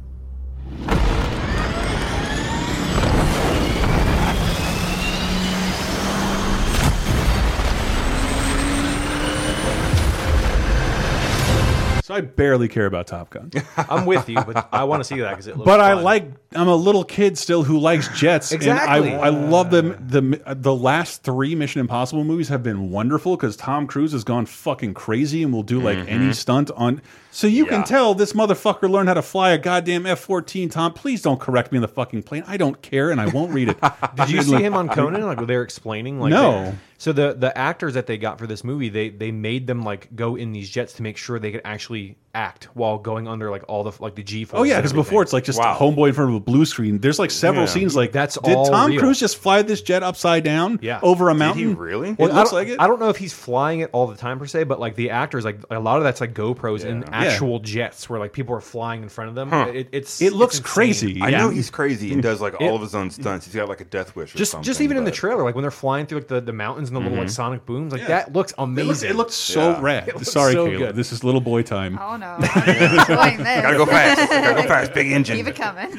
So I barely care about Top Gun. I'm with you, but I want to see that because it looks. But I fun. like I'm a little kid still who likes jets, Exactly. and I, I love them. the The last three Mission Impossible movies have been wonderful because Tom Cruise has gone fucking crazy and will do like Mm-hmm. Mhm. any stunt on. So you can Yeah. tell this motherfucker learned how to fly a goddamn F-14. Tom, please don't correct me in the fucking plane. I don't care, and I won't read it. Did you see him on Conan? Like they're explaining, like No. they- so the the actors that they got for this movie, they they made them like go in these jets to make sure they could actually act while going under like all the like the G force. Oh yeah, because before it's like just a homeboy in front of a blue screen. There's like several Yeah. scenes like That's Did all Tom real. Cruise just fly this jet upside down? yeah over a mountain. Well, it I looks don't- like it. I don't know if he's flying it all the time per se, but like the actors, like a lot of that's like GoPros and actual jets where like people are flying in front of them. Huh. It, it's It looks it's insane. crazy. I Yeah. know he's crazy and does like It- all of his own stunts. He's got like a death wish or Just, something. just even in the trailer, like when they're flying through like the, the mountains and the little like Mhm. sonic booms, like Yeah. that looks amazing. It looks so rad. It looks Sorry, so Caleb. good. This is little boy time. Oh no, I'm playing this. Gotta go fast. Gotta go fast. Big engine. Keep it coming.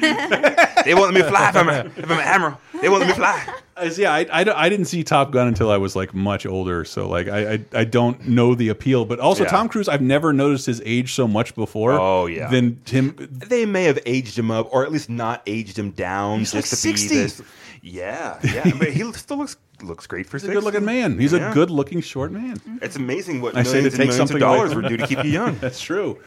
they won't let me fly if I'm, a, if I'm an admiral. They won't let me fly. Uh, Yeah, I, I, I didn't see Top Gun until I was like much older, so like I I, I don't know the appeal. But also Yeah. Tom Cruise, I've never noticed his age so much before. Oh, yeah. Then Tim, They may have aged him up, or at least not aged him down. He's just like to 60. Be this. Yeah, yeah, but he still looks looks great for he's a 60. good-looking man. He's a Yeah. good-looking short man. It's amazing what I say to millions and take millions something of dollars away. would do to keep you young. That's true.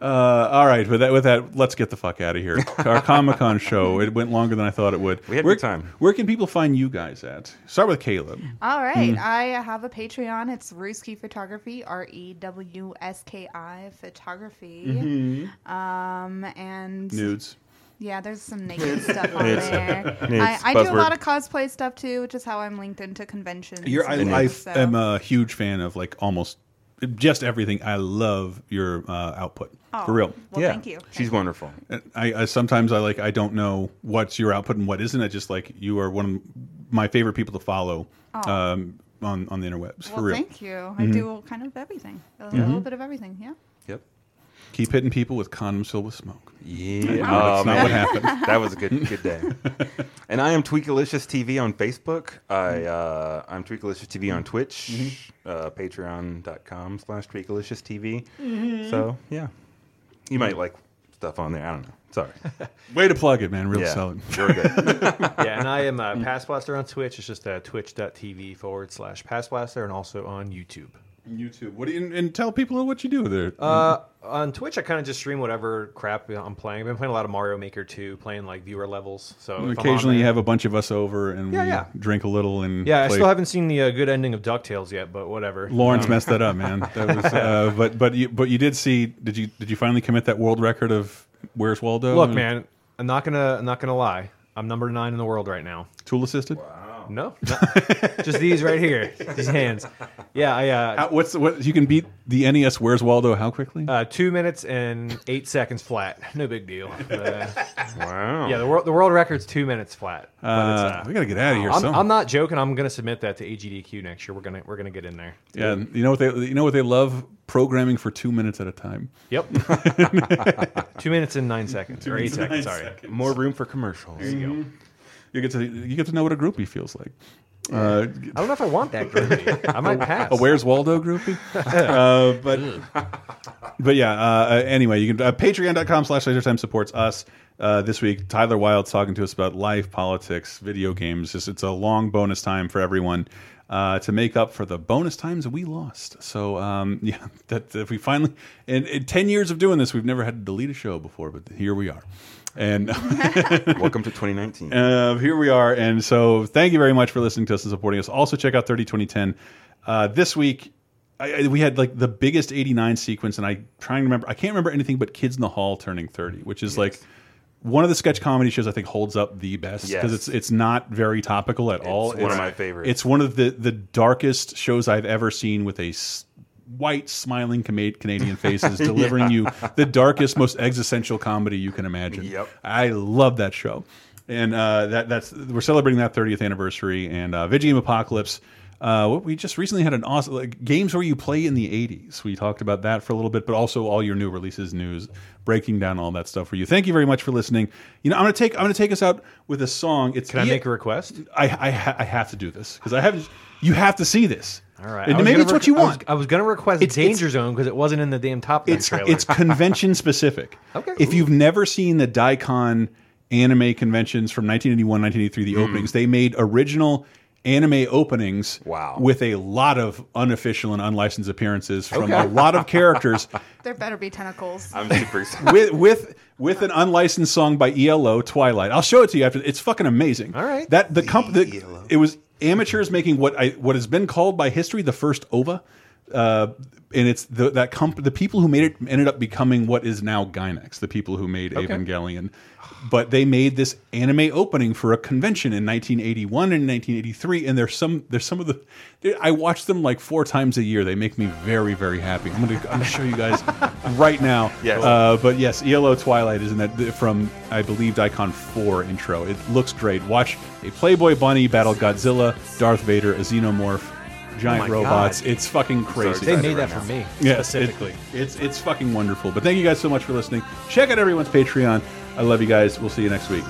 Uh, all right, with that, with that, let's get the fuck out of here. Our Comic Con show it went longer than I thought it would. We had where, time. Where can people find you guys at? Start with Caleb. All right. Mm. I have a Patreon. It's Rewski Photography, R E W S K I Photography. Mm-hmm. Mhm. Um, and Nudes. Yeah, there's some naked stuff on It's- there. it's I, I do a buzzword. lot of cosplay stuff too, which is how I'm linked into conventions. You're, I, and I stuff, so. am uh, a huge fan of like almost just everything. I love your uh, output Oh, for real. well, Yeah. thank you. She's wonderful. I, I sometimes I like I don't know what's your output and what isn't. I just like you are one of my favorite people to follow Oh. um, on on the interwebs for well, real. thank you. I Mhm. do kind of everything, a little Mhm. bit of everything. Yeah. Yep. Keep hitting people with condoms filled with smoke. Yeah, I know that's Oh, not what man. happened. that was a good good day. and I am Tweakalicious TV on Facebook. I uh, I'm Tweakalicious TV on Twitch, uh, Patreon.com slash Tweakalicious TV. Mhm. So yeah, you might like stuff on there. I don't know. Sorry. Way to plug it, man. Real Yeah, solid. We're good. yeah, and I am uh, Pass Blaster on Twitch. It's just uh, twitch.tv forward slash Pass Blaster and also on YouTube. YouTube. What do you, and tell people what you do there. Uh, on Twitch, I kind of just stream whatever crap I'm playing. I've been playing a lot of Mario Maker 2, playing like viewer levels. So if I'm on Occasionally, you there- have a bunch of us over and Yeah, we yeah. drink a little and Yeah, I play Hmm. still haven't seen the uh, good ending of Ducktales yet, but whatever. Lawrence Um, messed that up, man. That was, uh, but but you but you did see. Did you did you finally commit that world record of where's Waldo? Look, man, I'm not gonna I'm not gonna lie. I'm number nine in the world right now. Tool assisted? Wow. No, no. just these right here, these hands. Yeah, I uh, How, what's what you can beat the NES Where's Waldo? How quickly? uh, two minutes and eight seconds flat. No big deal. Uh, wow. Yeah, the world the world record's two minutes flat. But it's, Uh, we gotta get outta here I'm, somehow. I'm not joking. I'm gonna submit that to AGDQ next year. We're gonna we're gonna get in there. Yeah, and you know what they you know what they love programming for two minutes at a time. Yep. two minutes and nine seconds Two or eight minutes and seconds. nine Sorry. seconds. More room for commercials. There you go. You get to you get to know what a groupie feels like. Uh, I don't know if I want that groupie. I might pass. A Where's Waldo groupie? uh, but but yeah. Uh, uh, anyway, you can uh, Patreon.com/slash Laser Time supports us. Uh, this week, Tyler Wilde talking to us about life, politics, video games. It's, it's a long bonus time for everyone uh, to make up for the bonus times we lost. So um, yeah, that if we finally in, in ten years of doing this, we've never had to delete a show before, but here we are. And welcome to 2019. uh, here we are. And so thank you very much for listening to us and supporting us. Also, check out 30 2010. Uh, this week, I, I- we had like the biggest 89 sequence, and I trying to remember, I can't remember anything but Kids in the Hall turning 30, which is like one of the sketch comedy shows I think holds up the best Yes. because it's it's not very topical at all. one of my favorites. It's one of the, the darkest shows I've ever seen with a s- white, smiling Cama- Canadian faces Yeah. delivering you the darkest, most existential comedy you can imagine. Yep. I love that show. And uh, that that's we're celebrating that 30th anniversary and uh, Video Game Apocalypse. Uh, what we just recently had an awesome like, games where you play in the 80s. We talked about that for a little bit, but also all your new releases, news, breaking down all that stuff for you. Thank you very much for listening. You know, I'm gonna take I'm gonna take us out with a song. It's Can I make a request? I I, ha I have to do this because I haven't. You have to see this. All All right. I and was maybe gonna it's what rec- you I was- want. I was, going to request It's- it's- Danger Zone because it wasn't in the damn Top Gun it's trailer. it's convention specific. okay. If you've never seen the Daikon anime conventions from 1981, 1983, the Hmm. openings, they made original anime openings wow. with a lot of unofficial and unlicensed appearances from Okay. a lot of characters There better be tentacles. I'm super excited. with with with an unlicensed song by ELO Twilight. I'll show it to you after. It's fucking amazing. All right. That the comp the, it was amateurs making what I what has been called by history the first OVA. Uh, and it's the, that comp the people who made it ended up becoming what is now Gynax, the people who made Okay. Evangelion. But they made this anime opening for a convention in 1981 and 1983, and there's some there's some of the I watch them like four times a year. They make me very very happy. I'm gonna I'm gonna show you guys right now. Yes. Uh, but yes, ELO Twilight is in that from I believe Daikon 4 intro. It looks great. Watch a Playboy Bunny battle Godzilla, Darth Vader, a Xenomorph, giant Oh my robots. God. It's fucking crazy. They made that for me Yeah, specifically. it's it's fucking wonderful. But thank you guys so much for listening. Check out everyone's Patreon. I love you guys. We'll see you next week.